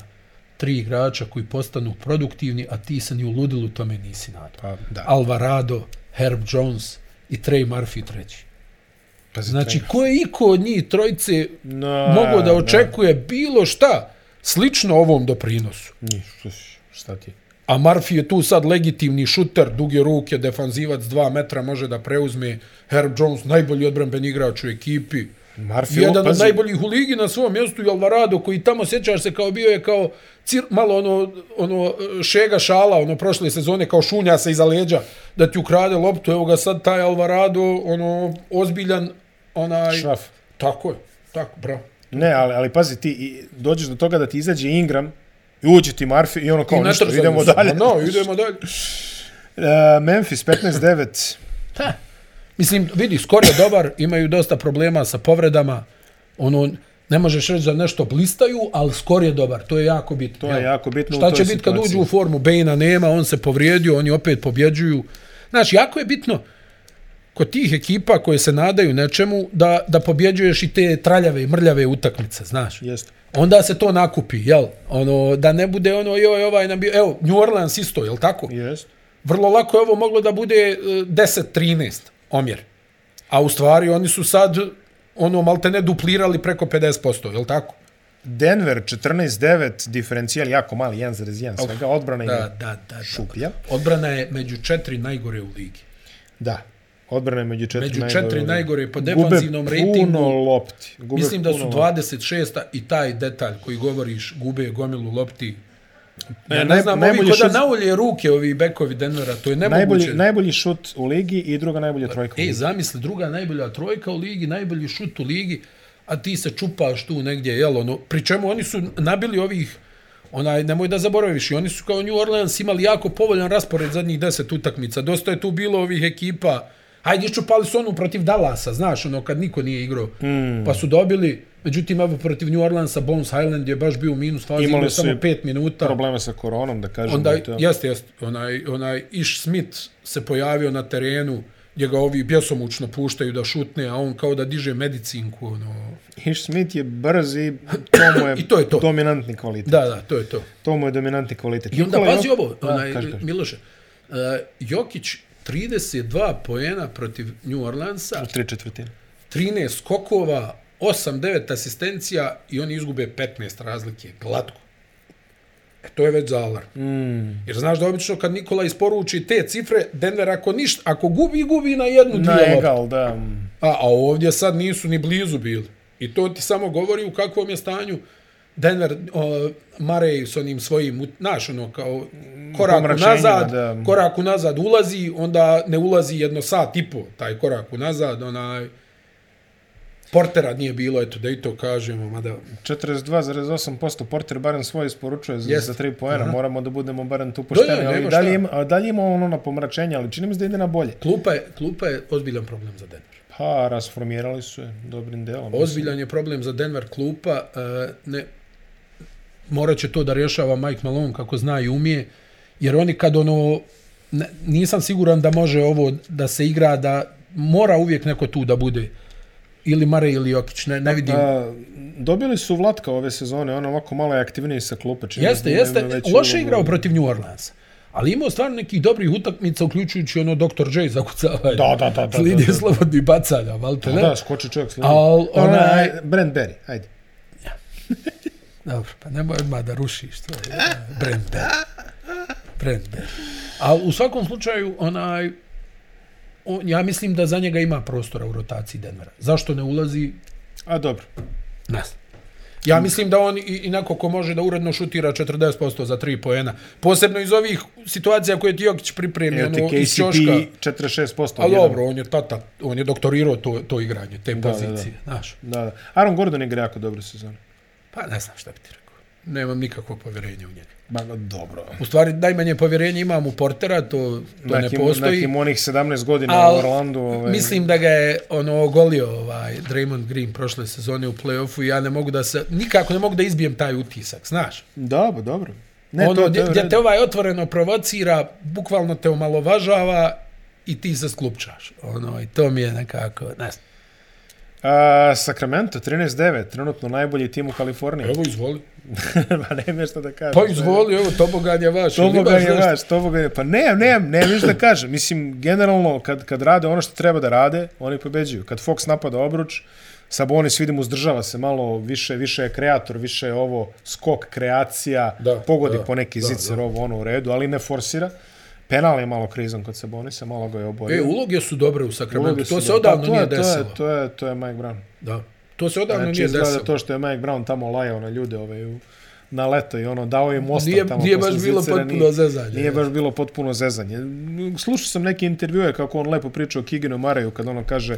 B: tri igrača koji postanu produktivni, a ti se ni u ludilu tome nisi nadao.
A: Pa, da.
B: Alvarado, Herb Jones i Trey Murphy treći.
A: Pazi,
B: Znači, ko je iko od njih trojice
A: No,
B: mogao da očekuje bilo šta slično ovom doprinosu?
A: Ni, š- šta ti?
B: A Murphy je tu sad legitimni šuter, duge ruke, defanzivac, dva metra može da preuzme. Herb Jones, najbolji odbranben igrač u ekipi.
A: Marfi,
B: Jedan od najboljih u ligi na svom mjestu i Alvarado koji tamo sjećaš se kao bio je kao cir, malo ono, ono šega šala ono prošle sezone kao šunja se iza leđa da ti ukrade loptu evo ga sad taj Alvarado ono ozbiljan onaj
A: Šraf.
B: tako je tako bravo
A: Ne, ali, ali pazi, ti i- dođeš do toga da ti izađe Ingram, i uđe ti Marfi i ono kao,
B: I
A: ništa,
B: natrpani
A: idemo
B: su. Pa
A: dalje.
B: no, idemo dalje
A: E, Memphis 15-9.
B: Ha. Mislim, vidi, skor je dobar, imaju dosta problema sa povredama, ono, ne možeš reći da nešto blistaju, ali skor je dobar, to je jako bitno.
A: To je jako bitno u
B: Šta
A: toj
B: će biti kad
A: situaciji.
B: uđu u formu? Bejna nema, on se povrijedio, oni opet pobjeđuju. Znaš, jako je bitno kod tih ekipa koje se nadaju nečemu da, da pobjeđuješ i te traljave i mrljave utakmice, znaš.
A: Jeste.
B: Onda se to nakupi, jel? Ono, da ne bude ono, joj, ovaj nam bio, evo, New Orleans isto, jel tako?
A: Jest.
B: Vrlo lako je ovo moglo da bude e, 10-13 omjer. A u stvari oni su sad ono maltene duplirali preko 50%, je li tako?
A: Denver 14-9, diferencijal jako mali, 1,1 svega, odbrana
B: Da,
A: je
B: da, da. da.
A: Mhm. šuplja.
B: Odbrana je među četiri najgore u ligi.
A: Da. Odbrana je među četiri
B: Među
A: najgore.
B: četiri
A: u-
B: najgore po
A: Gube
B: defanzivnom rejtingu.
A: puno lopti. Gube
B: Mislim da su
A: puno
B: 26. i taj detalj koji govoriš gube gomilu lopti.
A: Ne,
B: Ja ne,
A: naj-
B: znam, ovi
A: najbolji
B: ko da
A: šut-
B: naulje ruke ovi bekovi Denvera, to je nemoguće.
A: Najbolji, najbolji šut u ligi i druga najbolja trojka. u
B: E,
A: ligi.
B: zamisli, druga najbolja trojka u ligi, najbolji šut u ligi, a ti se čupaš tu negdje, jel, ono, pri čemu oni su nabili ovih, onaj, nemoj da zaboraviš, i oni su kao New Orleans imali jako povoljan raspored zadnjih deset utakmica, dosta je tu bilo ovih ekipa, hajde čupali su onu protiv Dallasa, znaš, ono, kad niko nije igrao,
A: Hmm.
B: mm. pa su dobili, međutim, evo, protiv New Orleansa, Bones Highland je baš bio u minus fazi,
A: Imali
B: imao
A: su
B: samo
A: i
B: pet minuta.
A: Problema sa koronom, da kažem.
B: Onda,
A: da je to...
B: jeste, jeste, onaj, onaj Iš Smith se pojavio na terenu, gdje ga ovi bjesomučno puštaju da šutne, a on kao da diže medicinku. Ono.
A: Hiš Smith je brz i to mu je,
B: I to je to.
A: dominantni kvalitet.
B: Da, da, to je to.
A: To mu je dominantni kvalitet.
B: I onda
A: Nikola
B: pazi
A: Jok-
B: ovo,
A: Da,
B: onaj,
A: kaži, kaži.
B: Miloše, uh, Jokić 32 poena protiv New Orleansa,
A: U tri četvrtine.
B: 13 skokova, 8-9 asistencija i oni izgube 15 razlike, glatko. E, to je već za alarm. Mm. Jer znaš da obično kad Nikola isporuči te cifre, Denver ako ništa, ako gubi, gubi na jednu
A: Na
B: dvije lopte.
A: egal, da.
B: A, a ovdje sad nisu ni blizu bili. I to ti samo govori u kakvom je stanju Denver, o, Marej s onim svojim, znaš, ono, kao korak
A: Pomračenjima,
B: nazad,
A: da.
B: korak nazad ulazi, onda ne ulazi jedno sat i po, taj korak nazad, onaj, Portera nije bilo, eto, da i to kažemo, mada,
A: 42,8% Porter barem svoje isporučuje za,
B: Jeste.
A: za 3 poena, moramo da budemo barem tu
B: Da,
A: pošteni,
B: da,
A: ali
B: nema
A: dalje
B: šta.
A: ima, a dalje ima ono na pomračenje, ali čini mi se da ide na bolje.
B: klupa je, klupa je ozbiljan problem za Denver.
A: Pa, rasformirali su je dobrim delom.
B: Ozbiljan je problem za Denver klupa. e, Ne, morat će to da rješava Mike Malone kako zna i umije. Jer oni kad ono... ne- Nisam siguran da može ovo da se igra, da mora uvijek neko tu da bude. Ili Mare ili Jokić, ne, ne vidim.
A: A, dobili su Vlatka ove sezone, on ovako malo je aktivniji sa klupe. čini mi se
B: Jeste,
A: da ima
B: jeste.
A: veću
B: Loše je
A: ulogu.
B: igrao protiv New Orleans. Ali imao stvarno nekih dobrih utakmica, uključujući ono Dr. J zakucavanje.
A: Da, da, da, da, da,
B: Linije
A: da.
B: slobodnih bacanja, valte,
A: Da,
B: ne?
A: da, skoči čovjek s linije. Pa
B: Al,
A: Ona,
B: onaj-
A: Brent Berry, ajde.
B: Dobro, pa nemoj odmah da rušiš eh, to. Brender. Brender. A u svakom slučaju, onaj, on, ja mislim da za njega ima prostora u rotaciji Denvera. Zašto ne ulazi?
A: A dobro,
B: Nas. Ja mislim da on i, i neko ko može da uredno šutira 40% za 3 poena. Posebno iz ovih situacija koje ti Jokić pripremi,
A: evo ti
B: ono, iz
A: KCP
B: Ćoška.
A: 46%.
B: Ali
A: jedan.
B: dobro, on je tata, on je doktorirao to, to igranje, te pozicije, znaš.
A: Da, da. Aaron Gordon igra jako dobro sezonu.
B: Pa ne znam šta bi ti rekao. Nemam nikakvog povjerenja u njega.
A: Ba, dobro.
B: U stvari, najmanje povjerenje imam u Portera, to, to ne
A: Nekim-
B: postoji.
A: Nekim onih 17 godina
B: Al,
A: u Orlandu. Ovaj,
B: Mislim da ga je ono ogolio ovaj Draymond Green prošle sezone u play-offu i ja ne mogu da se, nikako ne mogu da izbijem taj utisak, znaš.
A: Da, ba, dobro.
B: Ne, ono, gdje,
A: je u
B: gdje
A: redu.
B: te ovaj otvoreno provocira, bukvalno te omalovažava i ti se sklupčaš. Ono, i to mi je nekako, ne znam.
A: A, Sacramento, 13-9, trenutno najbolji tim u Kaliforniji.
B: E, Evo, izvoli.
A: pa nema šta da kažem.
B: Pa izvoli, evo, tobogan je vaš. ili
A: Toboga
B: baš
A: je
B: nešto?
A: vaš, toboga je. Pa ne, ne, ne, ništa da kažem. Mislim, generalno, kad, kad rade ono što treba da rade, oni pobeđuju. Kad Fox napada obruč, Sabonis, vidim, uzdržava se malo, više, više je kreator, više je ovo skok, kreacija,
B: Da,
A: pogodi
B: da,
A: po neki
B: da,
A: zicer, ovo ono u redu, ali ne forsira. Penal je malo krizan kod Sabonisa, malo ga je
B: E,
A: oborio.
B: uloge su dobre u Sakramentu.
A: Uloge su
B: To se
A: dobre.
B: odavno
A: Pa, to
B: nije
A: je- to je-
B: desilo.
A: To je, to je Mike Brown.
B: Da. To se odavno
A: Znači,
B: nije
A: izgleda
B: desilo.
A: to što je Mike Brown tamo lajao na ljude ove, u, na leto i ono, dao im ostan
B: Nije-
A: tamo.
B: nije
A: posle
B: baš bilo
A: Zvicera,
B: potpuno
A: nije-
B: zezanje,
A: Nije
B: da.
A: baš bilo potpuno zezanje. Slušao sam neke intervjue kako on lepo priča o Kiginu Mareju kad ono kaže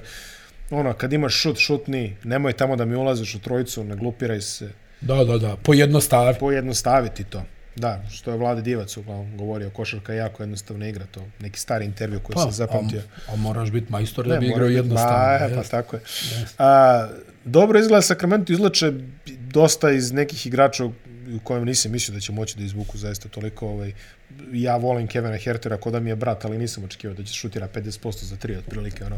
A: ono, kad imaš šut, šutni, nemoj tamo da mi ulaziš u trojicu, ne glupiraj se,
B: Da, da, da, pojednostavi.
A: pojednostaviti to. Da, što je Vlade Divac uglavnom govorio, košarka je jako jednostavna igra, to neki stari intervju koji sam Pa, zapamtio.
B: A, Pa, a moraš biti majstor da
A: Ne,
B: bi igrao
A: moraš biti-
B: jednostavno.
A: Ma, e,
B: Pa,
A: pa tako je. A, dobro izgleda Sacramento izlače dosta iz nekih igrača u u kojem nisam mislio da će moći da izvuku zaista toliko. Ovaj, ja volim Kevina Hertera, ko da mi je brat, ali nisam očekivao da će šutira 50% za tri otprilike. Ono.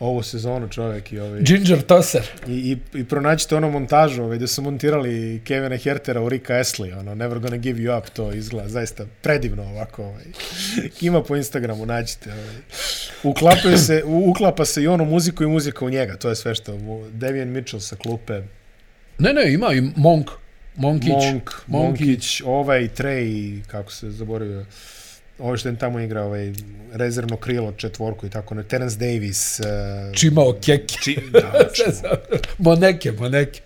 A: Ovo sezonu čovjek i, ovaj,
B: Ginger Tosser.
A: i, i, i pronaćite ono montažu ovaj, da su montirali Kevina Hertera u Rika Esley, ono, Never Gonna Give You Up, to izgleda zaista predivno ovako. Ovaj. Ima po Instagramu, nađite. Ovaj. Uklapaju se, u- uklapa se i ono muziku i muzika u njega, to je sve što. mu- Devian Mitchell sa klupe,
B: Ne, ne, ima i Monk. Monkić.
A: Monk,
B: Monkić.
A: Monkić, ovaj Trey, kako se zaboravio, ovaj što je tamo igra, ovaj rezervno krilo četvorku i tako, ne, Terence Davis, uh,
B: Čimao keke.
A: či, da, či,
B: moneke, moneke.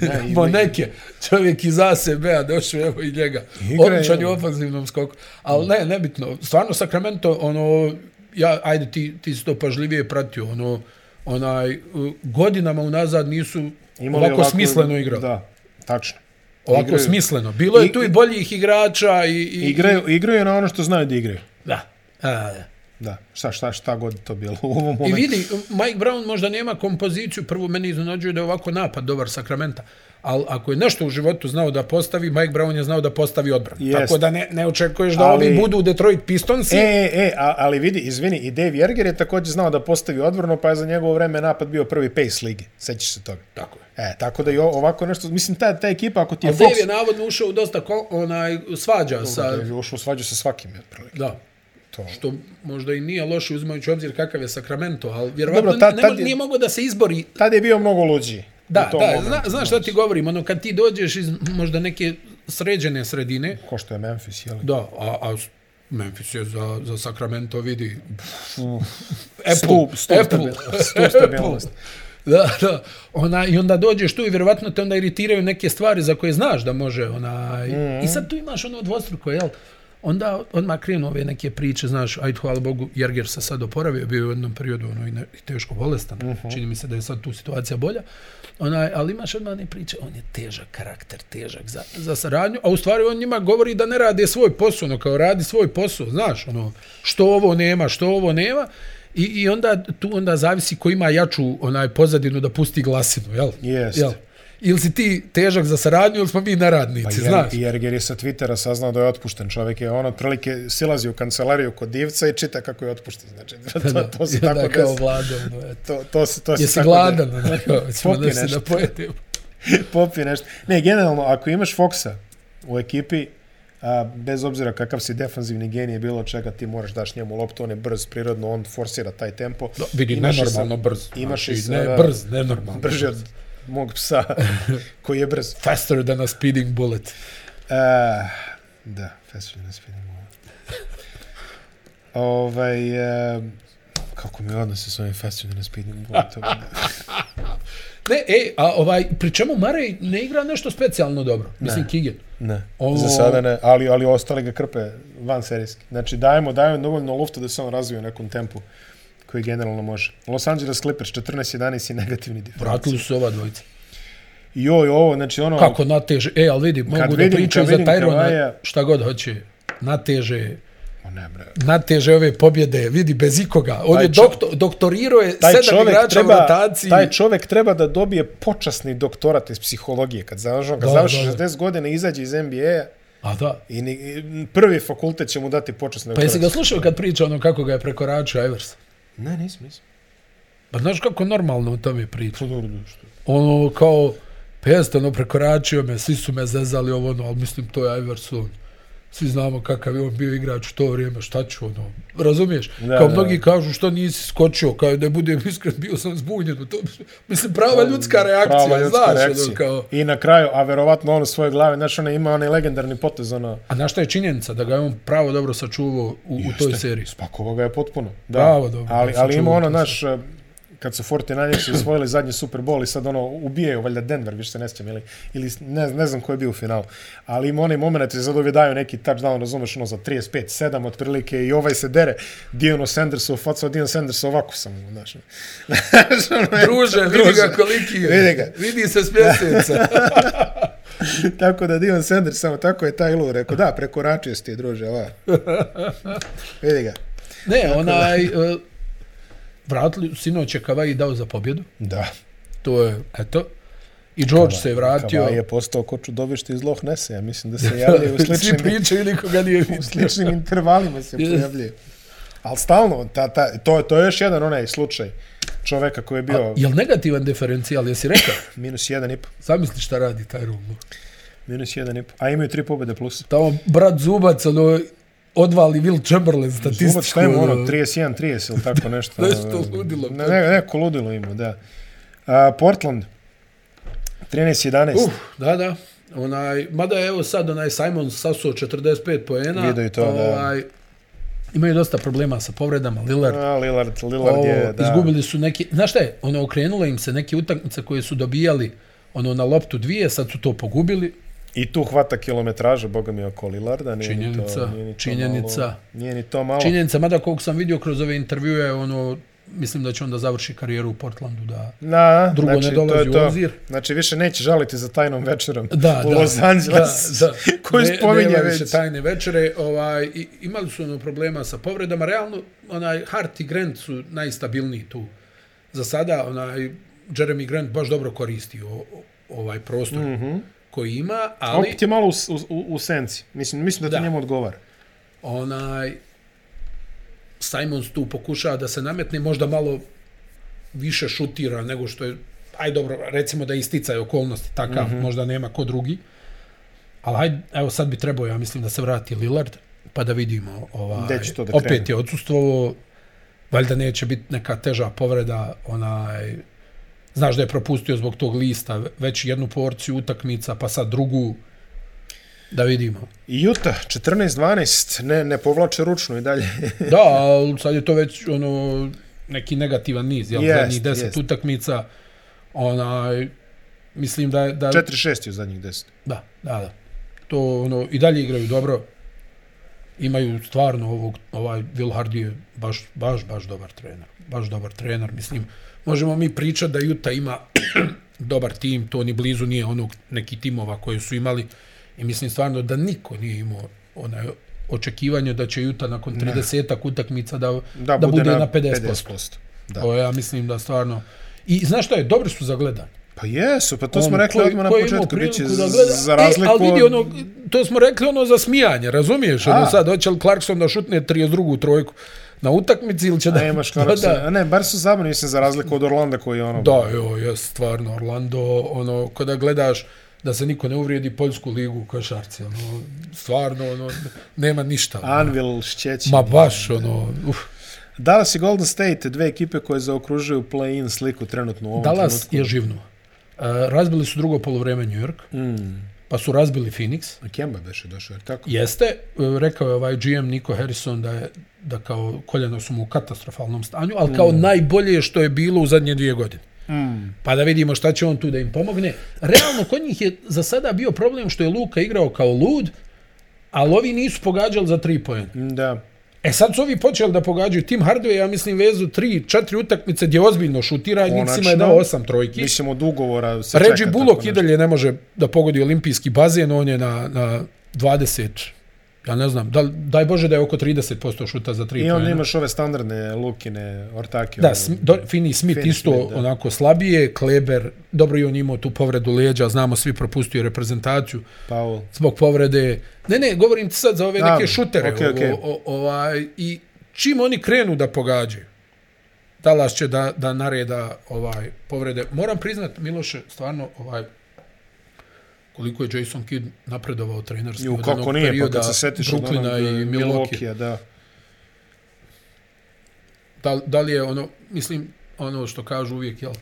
A: da, ima-
B: Moneke. Čovjek iz ASB-a došao, evo i njega.
A: Igra je,
B: Odličan je u
A: evo.
B: ofanzivnom skoku. Ali ne, nebitno. Stvarno Sacramento, ono, ja, ajde, ti, ti si to pažljivije pratio, ono, onaj, uh, godinama unazad nisu
A: imali
B: ovako, smisleno igrao.
A: Da, tačno.
B: Ovako
A: Igraju-
B: smisleno. Bilo je tu i boljih igrača i... i
A: Igraju, igraju na ono što znaju da igraju.
B: Da. A, da.
A: Da, šta, šta, šta god to bilo u ovom
B: I
A: momentu.
B: vidi, Mike Brown možda nema kompoziciju, prvo meni iznenađuje da je ovako napad dobar Sakramenta, ali ako je nešto u životu znao da postavi, Mike Brown je znao da postavi odbranu.
A: Jest.
B: Tako da ne, ne očekuješ da
A: Ali-
B: ali... ovi budu Detroit Pistonsi.
A: E,
B: E...
A: e, e, a, ali vidi, izvini, i Dave Jerger je također znao da postavi odvrno, pa je za njegovo vreme napad bio prvi pace lige. Sećaš se toga.
B: Tako je.
A: E, tako da i o- ovako nešto, mislim, ta, ta ekipa, ako ti je
B: A
A: Fox...
B: Dave je navodno ušao u dosta ko, onaj, svađa sa...
A: Dave je ušao u svađu sa svakim, otprilike.
B: Da.
A: To.
B: Što možda i nije loše uzimajući u obzir kakav je Sacramento, ali vjerovatno
A: Dobro, tad-
B: ne mo-
A: tad je-
B: nije mogao da se izbori
A: Tada je bio mnogo luđi.
B: Da,
A: u tom
B: da,
A: momentu.
B: zna, znaš šta ti govorim, ono kad ti dođeš iz možda neke sređene sredine,
A: Ko što je Memphis, jel?
B: da, a, a s- Memphis je za, za Sacramento vidi.
A: Apple, stup, stup,
B: Apple,
A: stabilnosti, stup stabilnosti.
B: e, Da, da. Ona, I onda dođeš tu i vjerovatno te onda iritiraju neke stvari za koje znaš da može. Onaj. I sad tu imaš ono dvostruko, jel? Onda odmah krenu ove neke priče, znaš, ajde hvala Bogu, Jerger se sad oporavio, bio je u jednom periodu ono, i, ne, i teško bolestan, čini mi se da je sad tu situacija bolja, onaj, ali imaš odmah ne priče, on je težak karakter, težak za, za saradnju, a u stvari on njima govori da ne rade svoj posao, ono kao radi svoj posao, znaš, ono, što ovo nema, što ovo nema, I, I onda tu onda zavisi ko ima jaču onaj pozadinu da pusti glasinu, jel?
A: Jest.
B: Jel? Ili si ti težak za saradnju ili smo mi naradnici,
A: Jer,
B: znaš?
A: Jerger Pa je sa Twittera saznao da je otpušten čovjek. Je on otprilike silazi u kancelariju kod divca i čita kako je otpušten. Znači, to, to, to se
B: I onda
A: tako
B: kao
A: desi.
B: vlada, ono, eto.
A: To, to, se, to se
B: Jesi
A: tako
B: gladan,
A: desi.
B: ono, kao, ćemo
A: Popi
B: da se
A: nešto.
B: da pojedemo.
A: Popi nešto. Ne, generalno, ako imaš Foxa u ekipi, a, bez obzira kakav si defanzivni genije bilo čega, ti moraš daš njemu loptu, on je brz, prirodno, on forsira taj tempo.
B: Do, vidi,
A: Imaš i sa-
B: nenormalno brz.
A: Imaš i
B: znači,
A: sa,
B: ne, brz, nenormalno.
A: Brži od mog psa, koji je brz.
B: Faster than a speeding bullet.
A: Uh, da, Festival na Spinning Wheel. Ovaj, uh, kako mi je odnose s ovim Festival na Spinning Wheel? To mi-
B: Ne, e, a ovaj, pri čemu Mare ne igra nešto specijalno dobro. Mislim, Kigen.
A: ne,
B: Ovo-
A: za sada ne, ali, ali ostale ga krpe van serijski. Znači, dajemo, dajemo dovoljno lufta da se on razvije u nekom tempu koji generalno može. Los Angeles Clippers 14-11 i negativni diferenci.
B: Vratili su se ova dvojica.
A: Joj, ovo, znači ono...
B: Kako nateže? E, ali vidi, mogu da
A: vidim-
B: pričaju
A: kad
B: za
A: vidim
B: Tyrona
A: Kavaja-
B: šta god hoće. Nateže,
A: O, ne, bre.
B: nateže ove pobjede, vidi, bez ikoga. On
A: Taj
B: je
A: čo-
B: doktor, doktorirao je
A: taj
B: sedam
A: čovjek
B: igrača
A: treba,
B: u rotaciji.
A: taj čovjek treba da dobije počasni doktorat iz psihologije. Kad završi, on kad
B: Da,
A: završi
B: da, da.
A: 60 godina, izađe iz NBA-a
B: A da.
A: i, ni, i prvi fakultet će mu dati počasni
B: Pa
A: doktorat.
B: jesi ga slušao kad priča ono kako ga je prekoračio Evers?
A: Ne, nisam, nisam.
B: Pa znaš kako normalno o tome priča?
A: Pa dobro, dobro, što?
B: Ono kao, pa jeste, ono prekoračio me, svi su me zezali ovo ono, ali mislim to je Evers on. Svi znamo kakav je on bio igrač u to vrijeme, šta ću ono, razumiješ?
A: Da,
B: Da, kao
A: da.
B: mnogi kažu što nisi skočio, kao da budem iskren, bio sam zbunjen. To, mislim, prava ljudska reakcija,
A: Prava ljudska
B: znaš,
A: reakcija.
B: ono kao...
A: I na kraju, a verovatno on u svojoj glavi, znaš, ona ima onaj legendarni potez, ono...
B: A znaš šta je činjenica? Da ga je on pravo dobro sačuvao u, u toj
A: Jeste,
B: seriji.
A: Spakovao ga je potpuno. Da.
B: Bravo, dobro,
A: Ali,
B: sam
A: ali ima
B: čuo
A: ono,
B: to
A: naš, kad su 49ersi osvojili zadnji Super Bowl i sad ono, ubijaju valjda Denver, više se ne sjećam, ili, ili ne, ne znam ko je bio u finalu. Ali ima onaj moment, jer sad ovi daju neki touchdown, razumeš, ono, za 35-7 otprilike i ovaj se dere, Diono Sandersu, faca Dion Sanders ovako sam, znaš. ono. Znaš, ono,
B: Druže,
A: eto,
B: vidi ga koliki je.
A: Vidi ga.
B: Vidi se s pjeseca.
A: tako da Dion Sanders, samo tako je taj lud rekao, da, prekoračio si ti, druže, ova. Vidi ga.
B: ne, onaj... Uh, vratili, sinoć je Kavaji dao za pobjedu.
A: Da.
B: To je, eto. I George se je vratio.
A: Kavaj Ovaj, je postao ko čudovište iz Loh Nese, ja mislim da se javljaju u
B: Svi
A: sličnim,
B: pričaju, nikoga nije
A: u
B: vidio.
A: sličnim intervalima se
B: Yes.
A: pojavljaju. Ali stalno, ta, ta, to, je- to je još jedan onaj slučaj čoveka koji je bio
B: Jel negativan diferencijal, jesi rekao?
A: minus jedan i po,
B: Zamisli šta radi taj Rumor.
A: minus jedan i po, a imaju tri pobjede plus.
B: Tamo brat Zubac, ono, odvali Will Chamberlain
A: Zubac,
B: statistiku.
A: šta ima ono,
B: ono.
A: 31-30 ili tako nešto. um,
B: Nešto ludilo. pa-
A: Ne, ne, neko ludilo ima, da. A, Portland, 13-11.
B: Uh, da, da. Onaj, mada je evo sad onaj Simon sasuo 45 poena. ovaj,
A: Vidio i to, da.
B: Imaju dosta problema sa povredama, Lillard.
A: A, Lillard, Lillard
B: Ovo,
A: je, da.
B: Izgubili su neki, znaš šta je, ono, okrenulo im se neke utakmice koje su dobijali ono na loptu dvije, sad su to pogubili.
A: I tu hvata kilometraža, boga mi, oko Lillarda. Nije ni
B: Činjenica,
A: to, nije ni to
B: činjenica.
A: Malo, nije ni to malo.
B: Činjenica, mada koliko sam vidio kroz ove intervjue, ono, mislim da će onda završi karijeru u Portlandu da...
A: Na,
B: Drugo ne dolazi u obzir.
A: Znači, više neće žaliti za tajnom večerom
B: Da,
A: u
B: da,
A: Los Angeles,
B: da, da.
A: koju
B: Ne-
A: spominje
B: nema
A: već.
B: više tajne večere. Ovaj, i, imali su ono problema sa povredama. Realno, onaj Hart i Grant su najstabilniji tu. Za sada, onaj, Jeremy Grant baš dobro koristi o, o- ovaj prostor mm -hmm. koji ima, ali
A: Mhm. Opet je malo u, s- u, u- u senci. Mislim, mislim da ti
B: Da.
A: njemu odgovara.
B: onaj Simons tu pokušava da se nametne, možda malo više šutira nego što je aj dobro, recimo da isticaju okolnosti takav,
A: Mhm.
B: mm -hmm. možda nema ko drugi. Ali aj, evo sad bi trebao, ja mislim, da se vrati Lillard, pa da vidimo. Ovaj,
A: Gde će to da krene?
B: opet je odsustvo, valjda neće biti neka teža povreda, onaj, znaš da je propustio zbog tog lista već jednu porciju utakmica, pa sad drugu, da vidimo.
A: Utah, 14-12, ne, ne povlače ručno i dalje.
B: Da, ali sad je to već ono neki negativan niz, jel?
A: Jest,
B: Yes, Zadnjih deset
A: jest.
B: yes. utakmica, onaj, mislim da... da
A: 4-6 je u zadnjih 10.
B: Da, da, da. To, ono, i dalje igraju dobro. Imaju stvarno ovog, ovaj Will Hardy je baš, baš, baš dobar trener. Baš dobar trener, mislim. Možemo mi pričati da Juta ima dobar tim, to ni blizu nije onog neki timova koji su imali. I mislim stvarno da niko nije imao onaj očekivanje da će Juta nakon 30 utakmica da, da, da bude, na 50%. 50%. Da.
A: Da.
B: O, ja mislim da stvarno... I znaš šta je, dobri su za gledanje.
A: Pa jesu, pa to
B: Ono,
A: smo rekli
B: ko-
A: odmah na
B: ko je imao
A: početku.
B: priliku
A: Biće
B: da
A: z-
B: gleda-
A: za razliku
B: E, ali vidi,
A: od-
B: ono, to smo rekli ono za smijanje, razumiješ? Ono
A: A.
B: sad, hoće li Clarkson da šutne 32. trojku na utakmici ili će da...
A: Nema što
B: da,
A: da,
B: da,
A: Ne, bar su zabavni, mislim, za razliku od Orlanda koji je ono...
B: da, jo, jes, stvarno, Orlando, ono, kada gledaš da se niko ne uvrijedi Poljsku ligu u košarci, ono, stvarno, ono, nema ništa.
A: Anvil šćeći.
B: Ma baš, ono, uf.
A: Dallas i Golden State, dve ekipe koje zaokružuju play-in sliku trenutno u ovom
B: Dallas
A: trenutku.
B: je živno. E, razbili su drugo polovreme New York,
A: Mm.
B: pa su razbili Phoenix,
A: Kemba beše došao, jer tako?
B: Jeste, e, rekao je ovaj GM Nico Harrison da je da kao koljena su mu u katastrofalnom stanju, ali kao mm. najbolje što je bilo u zadnje dvije godine. Mm. Pa da vidimo šta će on tu da im pomogne. Realno, kod njih je za sada bio problem što je Luka igrao kao lud, ali ovi nisu pogađali za tri pojene.
A: Da.
B: E sad su ovi počeli da pogađaju. Tim Hardaway, ja mislim, vezu tri, četiri utakmice gdje ozbiljno šutira i Nixima je
A: Konačno.
B: dao osam trojki.
A: Mislim, od ugovora se
B: Reggie
A: čeka
B: Bullock
A: tako
B: i
A: nešto.
B: dalje ne može da pogodi olimpijski bazen, on je na, na 20, ja ne znam, da, daj Bože da je oko 30% šuta za tri
A: I onda
B: poena.
A: imaš ove standardne Lukine, Ortake.
B: Da,
A: ono,
B: Sm- do, Finney Smith
A: Finney
B: isto
A: Smith, da.
B: onako slabije, Kleber, dobro i on imao tu povredu leđa, znamo svi propustio reprezentaciju
A: Paul.
B: zbog povrede. Ne, ne, govorim ti sad za ove
A: Da,
B: neke šutere.
A: okej, okej.
B: O, o, ovaj, I čim oni krenu da pogađaju, Dallas će da, da nareda ovaj povrede. Moram priznat, Miloše, stvarno ovaj koliko je Jason Kidd napredovao trenerski
A: Ju,
B: od
A: kako
B: onog
A: nije, pa
B: perioda
A: kad se setiš od onog eh,
B: Brooklyna i Milwaukee.
A: Milwaukee, da.
B: Da, da li je ono, mislim, ono što kažu uvijek, jel,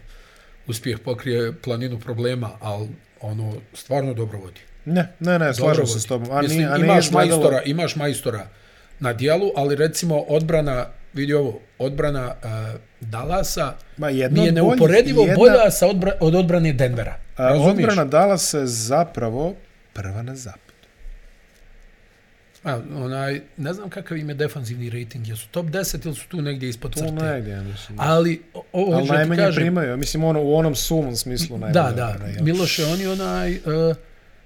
B: uspjeh pokrije planinu problema, ali ono, stvarno dobro vodi.
A: Ne, ne, ne, slažem
B: Dobro
A: se s
B: vodi.
A: tobom. A,
B: Mislim,
A: ni, a nije
B: imaš
A: izgledalo...
B: majstora, imaš majstora na dijelu, ali recimo odbrana, vidi ovo, odbrana uh, Dallasa
A: Ma, jedna
B: nije
A: od boljih-
B: neuporedivo
A: jedna-
B: bolja sa odbra, od odbrane Denvera.
A: A,
B: Razumiješ?
A: Odbrana Dallasa je zapravo prva na zapad.
B: A, onaj, ne znam kakav im je defanzivni rating, jesu top 10 ili su tu negdje ispod
A: Tu
B: crte.
A: negdje, ja mislim.
B: Ali o- ovo
A: Ali
B: hoću da ti
A: najmanje
B: kažem,
A: primaju, mislim ono, u onom sumom smislu najmanje.
B: Da, da.
A: odbrana, jel?
B: Miloše, oni onaj, uh,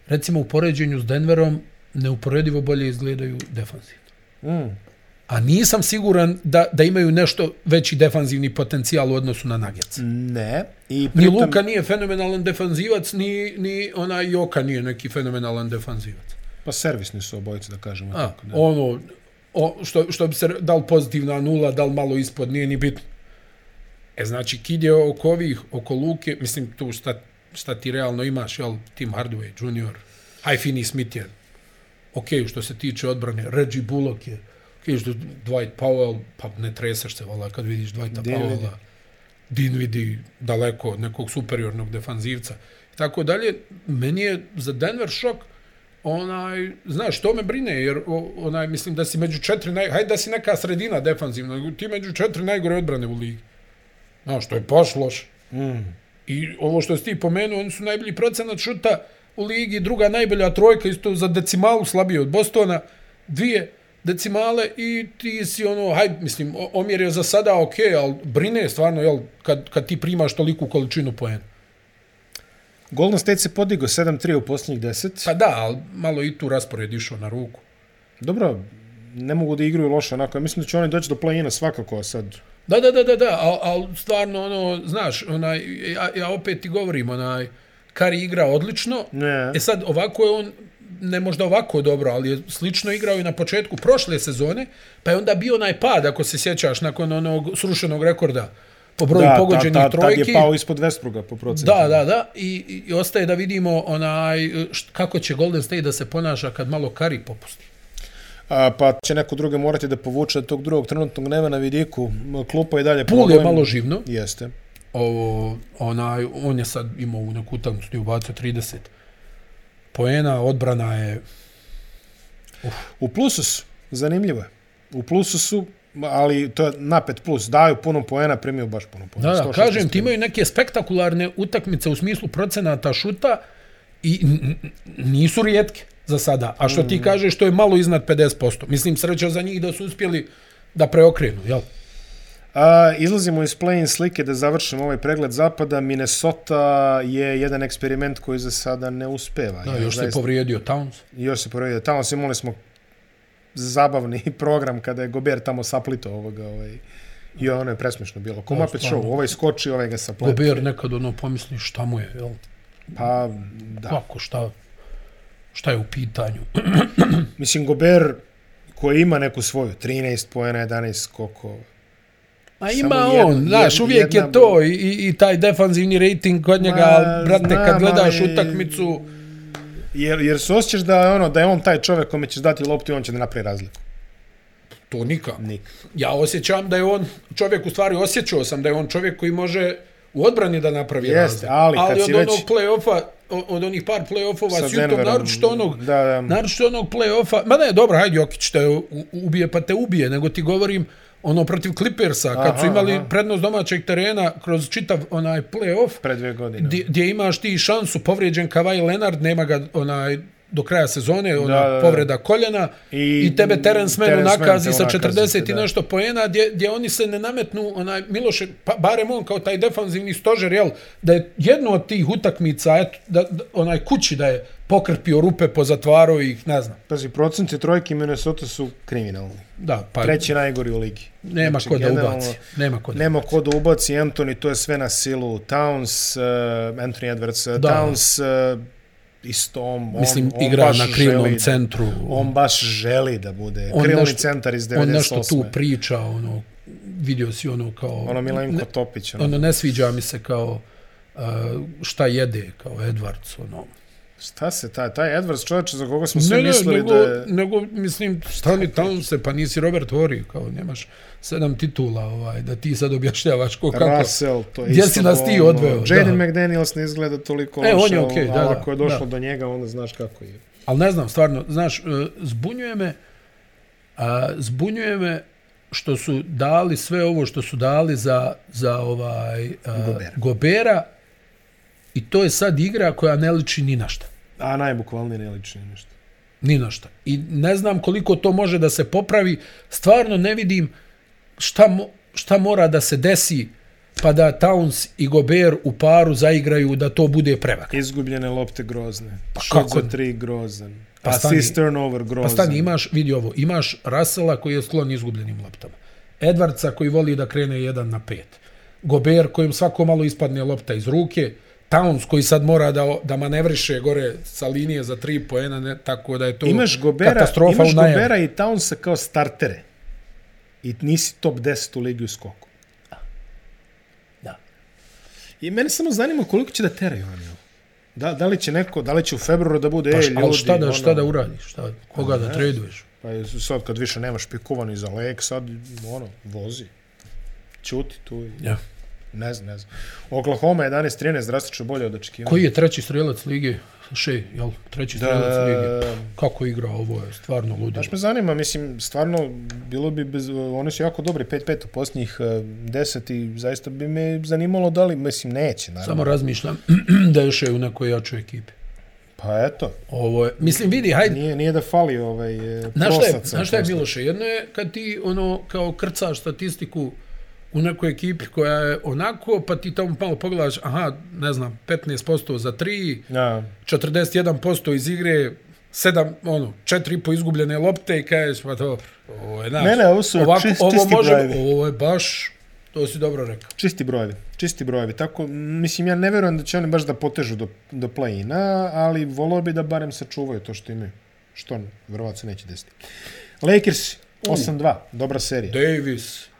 B: recimo u poređenju s Denverom, neuporedivo bolje izgledaju defanzivno.
A: Mm.
B: A nisam siguran da, da imaju nešto veći defanzivni potencijal u odnosu na Nuggets.
A: Ne. I
B: Ni
A: pritom,
B: Luka nije fenomenalan defanzivac, ni, ni onaj Joka nije neki fenomenalan defanzivac.
A: Pa servisni su obojice, da kažemo.
B: A,
A: tako, da.
B: ono, o, što, što bi se, da li pozitivna nula, da li malo ispod, nije ni bitno. E, znači, Kid je oko ovih, oko Luke, mislim, tu šta, šta ti realno imaš, jel, Tim Hardaway, Junior, aj Finney Smith je, ok, što se tiče odbrane, Reggie Bullock je, ok, što Dwight Powell, pa ne treseš se, vala, kad vidiš Dwighta
A: Dinwiddie.
B: Powella, Dinvidi daleko od nekog superiornog defanzivca i tako dalje. Meni je za Denver šok onaj, znaš, to me brine, jer o- onaj, mislim da si među četiri, naj, hajde da si neka sredina defanzivna, nego ti među četiri najgore odbrane u ligi. Znaš, to je baš loše.
A: Mm.
B: I ovo što si ti pomenuo, oni su najbolji procenat šuta u ligi, druga najbolja trojka, isto za decimalu slabije od Bostona, dvije, decimale i ti si ono, haj, mislim, o- omjer je za sada ok, ali brine stvarno, jel, kad, kad ti primaš toliku količinu poena.
A: Golden State se podigao 7-3 u posljednjih 10.
B: Pa da, ali malo i tu raspored išao na ruku.
A: Dobro, ne mogu da igraju loše onako. Ja mislim da će oni doći do play-ina svakako a sad.
B: Da, da, da, da, da, ali al stvarno, ono, znaš, onaj, ja, ja opet ti govorim, onaj, Kari igra odlično,
A: Ne.
B: E sad, ovako je on, ne možda ovako dobro, ali je slično igrao i na početku prošle sezone, pa je onda bio onaj pad, ako se sjećaš, nakon onog srušenog rekorda po broju da, pogođenih
A: ta, ta, Tad
B: trojki.
A: je pao ispod Westbruga po procentu.
B: Da, da, da. I, i- i ostaje da vidimo onaj št, kako će Golden State da se ponaša kad malo Kari popusti.
A: A, pa će neko drugi morati da povuče od tog drugog trenutnog nema na vidiku. M, Klupa je dalje
B: Pul je malo živno.
A: Jeste.
B: Ovo, onaj, on je sad imao u neku utakmicu gdje je ubacio 30 poena, odbrana je...
A: U plusu su, zanimljivo je. U plusu su, ali to je napet plus. Daju puno poena, primio baš puno poena.
B: Da, da,
A: 116
B: kažem, ti
A: poena.
B: imaju neke spektakularne utakmice u smislu procenata šuta i n- n- nisu rijetke za sada. A što
A: Mm.
B: ti kažeš, to je malo iznad 50%. Mislim, sreća za njih da su uspjeli da preokrenu, jel?
A: A, izlazimo iz play-in slike da završimo ovaj pregled zapada. Minnesota je jedan eksperiment koji za sada ne uspeva.
B: Da,
A: Ja
B: još se
A: zaista-
B: povrijedio Towns.
A: još se povrijedio. Tamo se imali smo zabavni program kada je Gober tamo saplito ovoga. Ovaj, I ono je presmišno bilo. Ko Muppet
B: stvarno.
A: Show, ovaj skoči, ovaj ga saplito.
B: Gobert nekad ono pomisli šta mu je, jel?
A: Pa, da.
B: Kako, šta, šta je u pitanju?
A: Mislim, Gober koji ima neku svoju 13 poena, 11 skoko.
B: A
A: ima
B: ima
A: Samo on,
B: on,
A: jedna-
B: znaš, uvijek
A: jedna-
B: je to i, i, i taj defanzivni rating kod njega, ali, brate,
A: znam,
B: kad gledaš
A: ali-
B: utakmicu,
A: Jer, jer se osjećaš da je, ono, da je on taj čovek kome ćeš dati loptu i on će da napravi razliku.
B: to nikako.
A: Nik.
B: Ja osjećam da je on čovjek, u stvari osjećao sam da je on čovjek koji može u odbrani da napravi
A: Jeste,
B: razliku.
A: ali kad
B: ali
A: si
B: od
A: već-
B: onog play-offa, o- od onih par play-offova s Jutom, Pa, naročito onog,
A: Da, da.
B: Naročito onog play-offa, ma ne, dobro, hajde Jokić te u- u- ubije, pa te ubije, nego ti govorim ono protiv Clippersa, kad
A: Aha,
B: su imali
A: aha.
B: prednost domaćeg terena kroz čitav onaj play-off,
A: Pre dve godine.
B: gdje, gdje imaš ti šansu, povrijeđen Kavaj Leonard, nema ga onaj do kraja sezone, ona
A: Da, da, da.
B: povreda koljena
A: I-
B: i, i tebe Terence Mann
A: Terence Mann te
B: nakazi sa
A: unakazi,
B: 40 i
A: da.
B: nešto poena, gdje, gdje oni se ne nametnu, onaj Miloše, pa, barem on kao taj defanzivni stožer, jel, da je jedno od tih utakmica, eto, da, da, onaj kući da je pokrpio rupe, pozatvarao ih, ne znam.
A: Pazi, procenti trojke Minnesota su kriminalni.
B: Da, pa
A: Treći najgori u ligi.
B: nema
A: Znači,
B: ko da
A: generalno-
B: ubaci. Nema ko da
A: Nema ko da ubaci Anthony, to je sve na silu. Towns, uh, Anthony Edwards, da.
B: Da.
A: Towns uh, isto on, on,
B: Mislim,
A: on
B: igra
A: baš
B: na krivnom
A: želi da-
B: centru.
A: On baš želi da bude
B: On
A: krilni
B: nešto-
A: centar iz 98.
B: on nešto tu priča, ono, vidio si ono kao...
A: Ono Milenko ne, Topić. Ono.
B: ono ne sviđa mi se kao uh, šta jede kao Edwards ono.
A: Šta se taj, taj Edwards čovječe za koga smo svi
B: Ne, ne,
A: mislili
B: nego,
A: da je...
B: nego mislim stani Townse pa nisi Robert Horry kao nemaš sedam titula ovaj da ti sad objašnjavaš ko kako.
A: Russell, to je
B: Gdje
A: isto
B: si nas ti
A: ono,
B: odveo, da.
A: Jaden McDaniels ne izgleda toliko
B: E, on
A: loše,
B: je okej,
A: ali
B: da, da,
A: Ako je došlo
B: da.
A: do njega, onda znaš kako je.
B: Ali ne znam stvarno, znaš e, zbunjuje me a, zbunjuje me što su dali sve ovo što su dali za, za ovaj a,
A: Gobera.
B: Gobera i to je sad igra koja ne liči ni na šta.
A: A najbukvalnije ne liči na ništa.
B: Ni na šta. I ne znam koliko to može da se popravi. Stvarno ne vidim šta, mo, šta mora da se desi pa da Towns i Gober u paru zaigraju da to bude prevak.
A: Izgubljene lopte grozne. Pa
B: kako
A: Šut za
B: ne?
A: tri grozan. Pa
B: Pa
A: Assist
B: stani-
A: turnover grozan.
B: Pa stani, imaš, vidi ovo, imaš Rasela koji je sklon izgubljenim loptama. Edvardca koji voli da krene 1 na 5. Gober kojem svako malo ispadne lopta iz ruke. Towns koji sad mora da, da manevriše gore sa linije za 3 poena, ne, tako da je to
A: Imaš Gobera,
B: katastrofa
A: imaš
B: u najavi.
A: Gobera i Townsa kao startere. I nisi top 10 u ligi u skoku.
B: Da.
A: I mene samo zanima koliko će da teraju oni. ovo. Da, da li će neko, da li će u februaru da bude,
B: Pa
A: ej
B: š-
A: ljudi,
B: ali šta da, šta
A: ono,
B: da uradiš? Šta, koga da traduješ?
A: Pa je sad kad više nemaš pikovani za lek, sad ono, vozi. Ćuti tu i...
B: Ja.
A: Ne znam, ne znam. Oklahoma 11-13, drastično bolje od očekivanja.
B: Koji je treći strelac lige? Še, jel? Treći
A: Da.
B: strelac lige. Kako igra ovo je stvarno ludilo.
A: Baš me zanima, mislim, stvarno, bilo bi bez, oni su jako dobri, 5-5 u posljednjih 10 i zaista bi me zanimalo da li, mislim, neće, naravno.
B: Samo razmišljam da je še u nekoj jačoj ekipi.
A: Pa eto,
B: Ovo je, mislim, vidi, hajde,
A: nije, nije da fali ovaj e,
B: Znaš šta, je,
A: prosaca.
B: znaš šta je Miloše? Jedno je kad ti ono kao krcaš statistiku u nekoj ekipi koja je onako, pa ti tamo malo pogledaš, aha, ne znam, 15% za 3,
A: Ja.
B: 41% iz igre, 7, ono, 4,5 izgubljene lopte i kažeš, pa dobro, ovo je, znaš,
A: Ne, ne, ovo su čist-
B: ovo,
A: čisti
B: može,
A: brojevi.
B: ovo je baš, to si dobro rekao.
A: Čisti brojevi, čisti brojevi. Tako, m, mislim, ja ne verujem da će oni baš da potežu do, do play-ina, ali volao bi da barem sačuvaju to što imaju. Što, verovatno se neće desiti. Lakers, 8-2, dobra serija.
B: Davis,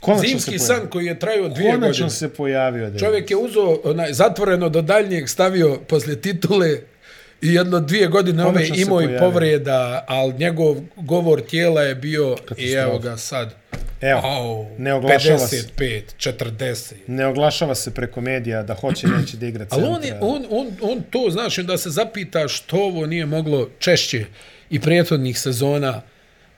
A: Konačno se
B: zimski
A: pojavio.
B: san koji je trajao dvije
A: Konačno
B: godine.
A: se pojavio. David.
B: Čovjek je uzo onaj, zatvoreno do daljnjeg stavio poslije titule i jedno dvije godine ove
A: Konačno se
B: imao i
A: pojavio.
B: povreda, ali njegov govor tijela je bio i
A: Katastrofa.
B: evo ga sad.
A: Evo,
B: Au,
A: ne oglašava se.
B: 55, 40.
A: Ne oglašava se preko medija da hoće, neće da igra
B: Ali
A: centra.
B: on, je, on, on, on to, znaš, da se zapita što ovo nije moglo češće i prethodnih sezona.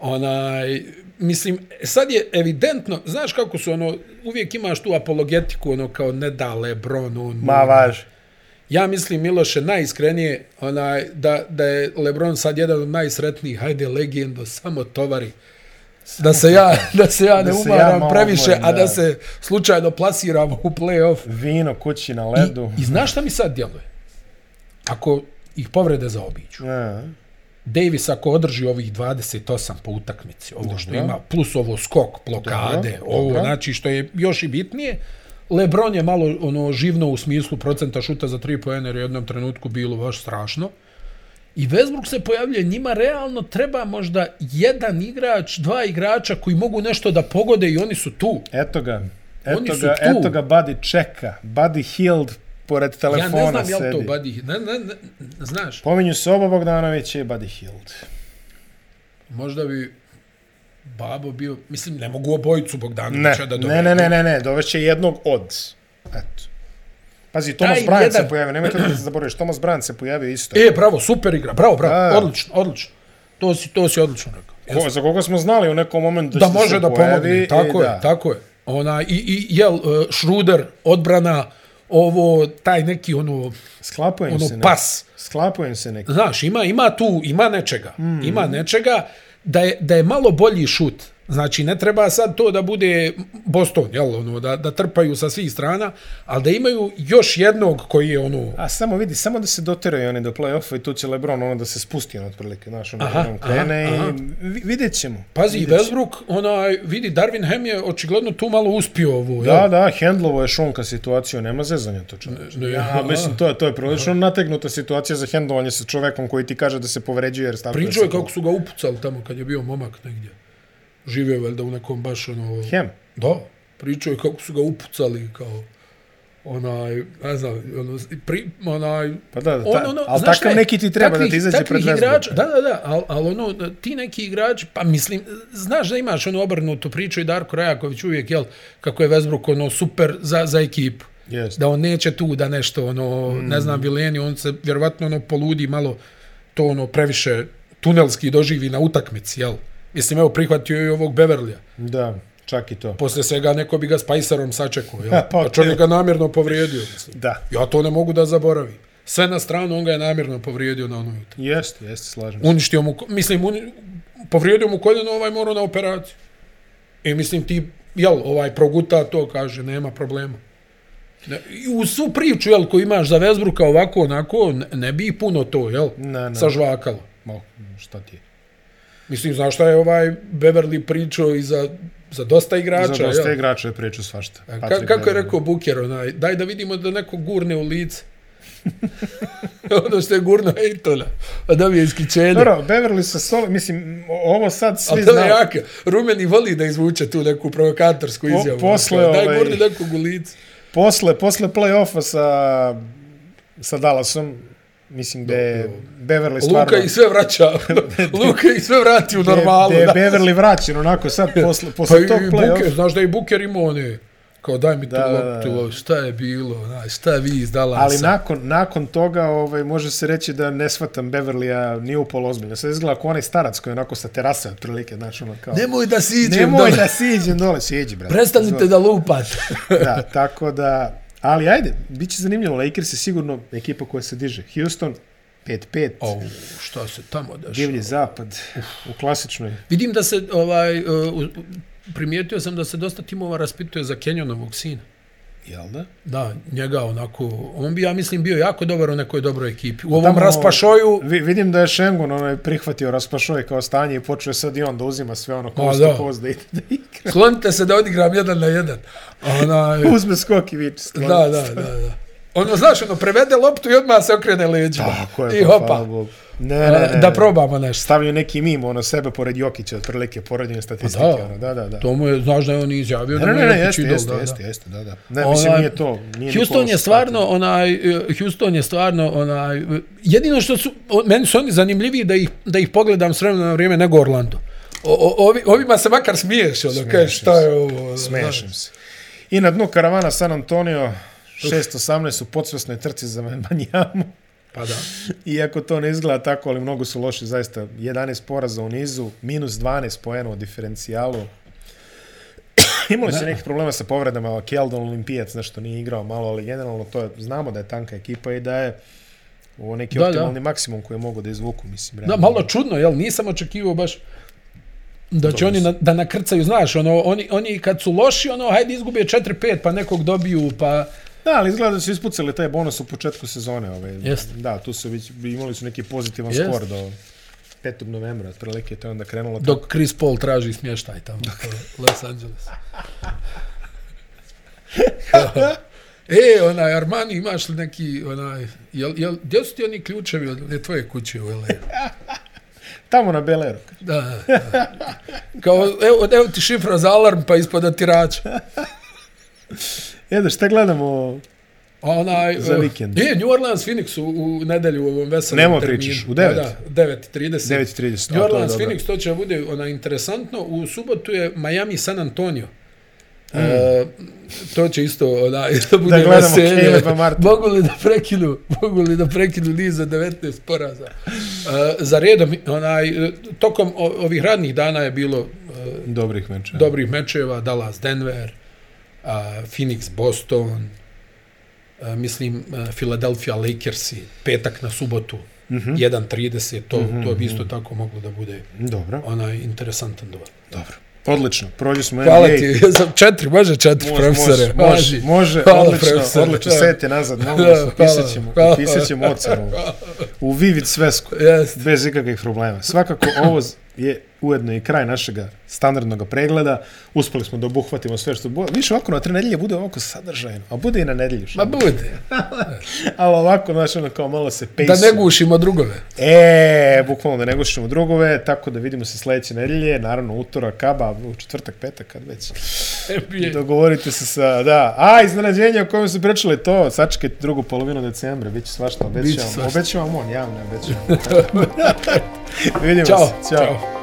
B: Onaj, mislim, sad je evidentno, znaš kako su ono, uvijek imaš tu apologetiku, ono kao ne da Lebron, on
A: Ma, važi.
B: Ja mislim, Miloše, najiskrenije onaj, da, da je Lebron sad jedan od najsretnijih, hajde legendo, samo tovari. Da se ja, da se ja ne
A: Da se ja
B: umaram
A: malo
B: previše,
A: odmorim,
B: a
A: da.
B: da se slučajno plasiram u play-off.
A: Vino kući na ledu.
B: I, I znaš šta mi sad djeluje? Ako ih povrede zaobiđu.
A: Ja.
B: Davis ako održi ovih 28 po utakmici, ovo što ima, plus ovo skok, blokade,
A: Dobro,
B: ovo
A: dobro.
B: znači što je još i bitnije, Lebron je malo ono živno u smislu procenta šuta za 3 poena jer je u jednom trenutku bilo baš strašno. I Westbrook se pojavlja, njima realno treba možda jedan igrač, dva igrača koji mogu nešto da pogode i oni su tu.
A: Eto ga. Eto
B: su
A: ga,
B: tu.
A: eto ga Buddy čeka. Buddy Hield pored telefona
B: ja ne znam
A: sedi.
B: jel to Buddy, ne, ne, ne, znaš,
A: Pominju se oba Bogdanovića i Buddy Hield.
B: možda bi Babo bio, mislim ne mogu obojicu
A: Ne,
B: Bogdanovića da
A: ne, ne, ne, ne, ne, dovešće jednog od. Eto. Pazi, Thomas
B: Taj
A: Bryant se
B: jedan-
A: pojavio, nemojte da se zaboraviš, Thomas Bryant se pojavio isto.
B: E, bravo, super igra, bravo, bravo,
A: Da.
B: odlično, odlično. To si, to si odlično rekao.
A: Ko, za koga smo znali u nekom momentu
B: Da
A: će se
B: može da
A: pojavi
B: pomogne,
A: i
B: tako
A: da.
B: je, tako je. Ona, i, i jel, uh, Šruder, odbrana, ovo, taj neki, ono,
A: Sklapujem
B: ono,
A: se neki.
B: pas.
A: Sklapujem se neki.
B: Znaš, ima, ima tu, ima nečega. Mm. Ima nečega da je, da je malo bolji šut. Znači, ne treba sad to da bude Boston, jel, ono, da, da trpaju sa svih strana, ali da imaju još jednog koji je, ono,
A: A samo vidi, samo da se doteraju oni do play-offa i tu će Lebron ono da se spusti ono otprilike, znaš, ono
B: Aha,
A: jednom krene
B: aha, aha.
A: i vi- vidjet ćemo.
B: Pazi, i
A: vidjet ćemo.
B: Westbrook, onaj, vidi, Darvin Ham je očigledno tu malo uspio ovo.
A: Da, da, Hendlovo je šunka situaciju, nema zezanja to čoveče.
B: Ne, ne,
A: Ja,
B: aha.
A: mislim, to je, to je prilično nategnuta situacija za hendlovanje sa čovekom koji ti kaže da se povređuje jer stavljuje
B: Pričao je
A: se-
B: kako su ga upucali tamo kad je bio momak negdje. Živio je valjda u nekom baš ono...
A: Hem.
B: Da, pričao je kako su ga upucali kao onaj, ne znam, ono, pri, onaj,
A: Pa da, da, ta,
B: on, ono,
A: ali
B: znaš šta
A: takav
B: je?
A: neki ti treba da ti izađe pred
B: takvih
A: Westbrook.
B: igrača, Da, da, da, ali al ono, ti neki igrač, pa mislim, znaš da imaš ono obrnutu priču i Darko Rajaković uvijek, jel, kako je Westbrook ono super za, za ekipu.
A: Jeste.
B: Da on neće tu da nešto, ono, mm. ne znam, Vileni, on se vjerovatno ono poludi malo to ono previše tunelski doživi na utakmici, jel? Mislim, evo, prihvatio je i ovog Beverlija.
A: Da, čak i to.
B: Poslije svega neko bi ga Spicerom sačekao, jel?
A: Pa,
B: pa, A čovjek ga namjerno povrijedio, mislim.
A: Da.
B: Ja to ne mogu da zaboravim. Sve na stranu, on ga je namjerno povrijedio na onoj utakmici.
A: Jeste, jeste, slažem se.
B: Uništio mu, ko- mislim, uni, povrijedio mu koljeno, ovaj morao na operaciju. I mislim ti, jel, ovaj proguta to, kaže, nema problema. Ne, I u svu priču, jel, koju imaš za Vesbruka ovako, onako, ne, ne bi puno to, jel,
A: Ne, ne.
B: sažvakalo.
A: Ma, šta ti je?
B: Mislim, znaš šta je ovaj Beverly pričao i za, za dosta igrača,
A: Za dosta
B: jel?
A: igrača je pričao svašta.
B: Ka,
A: Patrick
B: kako je
A: Beverley.
B: rekao Buker, onaj, daj da vidimo da neko gurne u lice. ono što je gurno Ejtona, a da mi je iskičenje.
A: Dobro, Beverly sa solo, mislim, o- ovo sad svi
B: Ali to je
A: znamo.
B: jaka. Rumeni voli da izvuče tu neku provokatorsku
A: Po-
B: izjavu.
A: posle,
B: Daj
A: ovaj-
B: gurni nekog u lice.
A: Posle, posle play-offa sa, sa Dallasom, mislim da je Beverly stvarno...
B: Luka i sve vraća. Luka i sve vrati u
A: da je-
B: normalu.
A: Da je
B: da.
A: Beverly vraćen onako sad posle,
B: Pa i,
A: posle tog
B: i Buker,
A: play-offa.
B: znaš da i Buker ima one, kao daj mi tu
A: Da, da, da.
B: loptu, ovo, šta je bilo, onaj, šta vi izdala
A: Ali
B: sam.
A: nakon, nakon toga ovaj, može se reći da ne shvatam Beverlya nije upolo ozbiljno. Sad izgleda kao onaj starac koji je onako sa terase otprilike, znaš, ono kao...
B: Nemoj da siđem
A: Nemoj
B: dole.
A: da siđem dole, siđi, brate.
B: Prestanite da lupate.
A: da, tako da... Ali ajde, bit će zanimljivo. Lakers je sigurno ekipa koja se diže. Houston, 5-5.
B: Au, šta se tamo dešava?
A: Divlji zapad u klasičnoj.
B: Vidim da se, ovaj, uh, u- primijetio sam da se dosta timova raspituje za Kenjonovog sina.
A: Jel da?
B: Da, njega onako, on bi, ja mislim, bio jako dobar u nekoj dobroj ekipi. U ovom
A: Tamo-
B: raspašoju,
A: Vi, vidim da je Šengun onaj prihvatio raspašoj kao stanje i počeo je sad i on da uzima sve ono
B: Ma,
A: kost da.
B: da.
A: kost da ide da igra.
B: slonite se da odigram jedan na jedan. Ona,
A: Uzme skok i viče. skloni.
B: da, da, da, da. Ono, znaš, ono, prevede loptu i odmah se okrene leđima.
A: Tako je,
B: I
A: pa, hvala
B: hopa, E,
A: Bogu. E, Ne, ne, ne, ne.
B: da probamo nešto.
A: Stavljaju neki mim, ono, sebe pored Jokića, otprilike, poređenje statistike,
B: Pa da.
A: da. ono, da, da, da.
B: To mu je, znaš da je on izjavio
A: Ne,
B: da
A: ne,
B: mu
A: ne,
B: je
A: ne,
B: Jokić
A: jeste,
B: idol,
A: jeste,
B: da, da.
A: jeste, jeste, da, da. Ne, mislim,
B: Onaj,
A: nije to. Nije ni
B: Ovaj, Houston je
A: Kolosu
B: stvarno onaj eh, Houston je stvarno onaj eh, jedino što su o- meni su oni zanimljiviji da ih da ih pogledam s vremena na vrijeme nego Orlando. O, o, ovi, ovima se makar smiješ, ono, kažeš šta je ovo. ono,
A: platio.
B: znaš.
A: Smešim se. I na dnu karavana San Antonio, 618 u podsvesnoj trci za Manjamu.
B: Pa da.
A: Iako to ne izgleda tako, ali mnogo su loši, zaista 11 poraza u nizu, minus 12 poena u diferencijalu. Imali su nekih problema sa povredama, Keldon Olimpijac nešto nije igrao malo, ali generalno to je, znamo da je tanka ekipa i da je ovo neki
B: Da, da.
A: optimalni maksimum koji mogu da izvuku, mislim.
B: Da,
A: realno.
B: malo čudno, jel? Nisam očekivao baš da će oni na, da nakrcaju, znaš, ono, oni, oni kad su loši, ono, hajde izgube 4-5, pa nekog dobiju, pa...
A: Da, ali izgleda da su ispucali taj bonus u početku sezone. Ovaj.
B: Jeste.
A: Da, tu su već, imali su neki pozitivan
B: Jeste.
A: Jest. skor do 5. novembra, otprilike to je onda krenulo. Dok...
B: Dok Chris Paul traži smještaj tamo u Los Angeles. e, onaj, Armani, imaš li neki, onaj, jel, jel, gdje su ti oni ključevi od one tvoje kuće u LA?
A: Tamo na Beleru.
B: Da, da, da. Kao, evo, evo ti šifra za alarm, pa ispod otirača.
A: Jedeš, šta gledamo?
B: A onaj...
A: Za
B: eh,
A: vikend.
B: Je, New Orleans Phoenix u, u nedelju u ovom veselom
A: Nemoj
B: terminu.
A: pričaš, u devet?
B: Da, da, 9.30.
A: 9.30. a,
B: New
A: to je
B: Orleans
A: dobro.
B: Phoenix, to će bude ona interesantno. U subotu je Miami San Antonio. Mm. E, to će isto ona, da bude
A: gledamo
B: veselje.
A: Caleba Martina.
B: Mogu li da prekinu, mogu li da prekinu niz za 19 poraza. E, za redom, onaj, eh, tokom o- ovih radnih dana je bilo e,
A: Dobrih meča.
B: dobrih mečeva, Dallas Denver, a, Phoenix Boston, a, mislim a, Philadelphia Lakersi, petak na subotu, mm
A: Mhm. Hm?
B: -hmm. 1.30, to, mm -hmm. to bi isto tako moglo da bude
A: Dobro,
B: onaj interesantan duel.
A: dobro. Odlično, prođe smo
B: Hvala
A: NBA.
B: ti, za četiri, može četiri,
A: Može,
B: profesore.
A: može,
B: važi.
A: može, može
B: Hvala,
A: odlično,
B: profesore,
A: odlično,
B: da.
A: set je nazad, mogu
B: Da,
A: se, pisat
B: hvala,
A: ćemo,
B: hvala.
A: pisat ćemo ocenu u Vivid Svesku,
B: Jeste.
A: bez ikakvih problema. Svakako, ovo je ujedno i kraj našega standardnog pregleda, uspeli smo da obuhvatimo sve što bude, više ovako na tri nedelje bude ovako sadržajno, a bude i na nedelju,
B: Ma
A: što?
B: bude,
A: ali ovako, znaš, ono kao malo se pejsu.
B: da ne gušimo drugove.
A: E, bukvalno da ne gušimo drugove, tako da vidimo se sljedeće nedelje, naravno utorak, kaba, u četvrtak, petak, kad već. E,
B: NBA.
A: Dogovorite se sa, da. A, iznenađenje o kojem su pričali to, sačekajte drugu polovinu decembra, bit će svašta,
B: Bit će
A: obećavam.
B: svašta.
A: Obećavam on, ja vam ne obećavam. Vidimo
B: Ćao.
A: se, ćao.
B: Ćao.
A: ćao.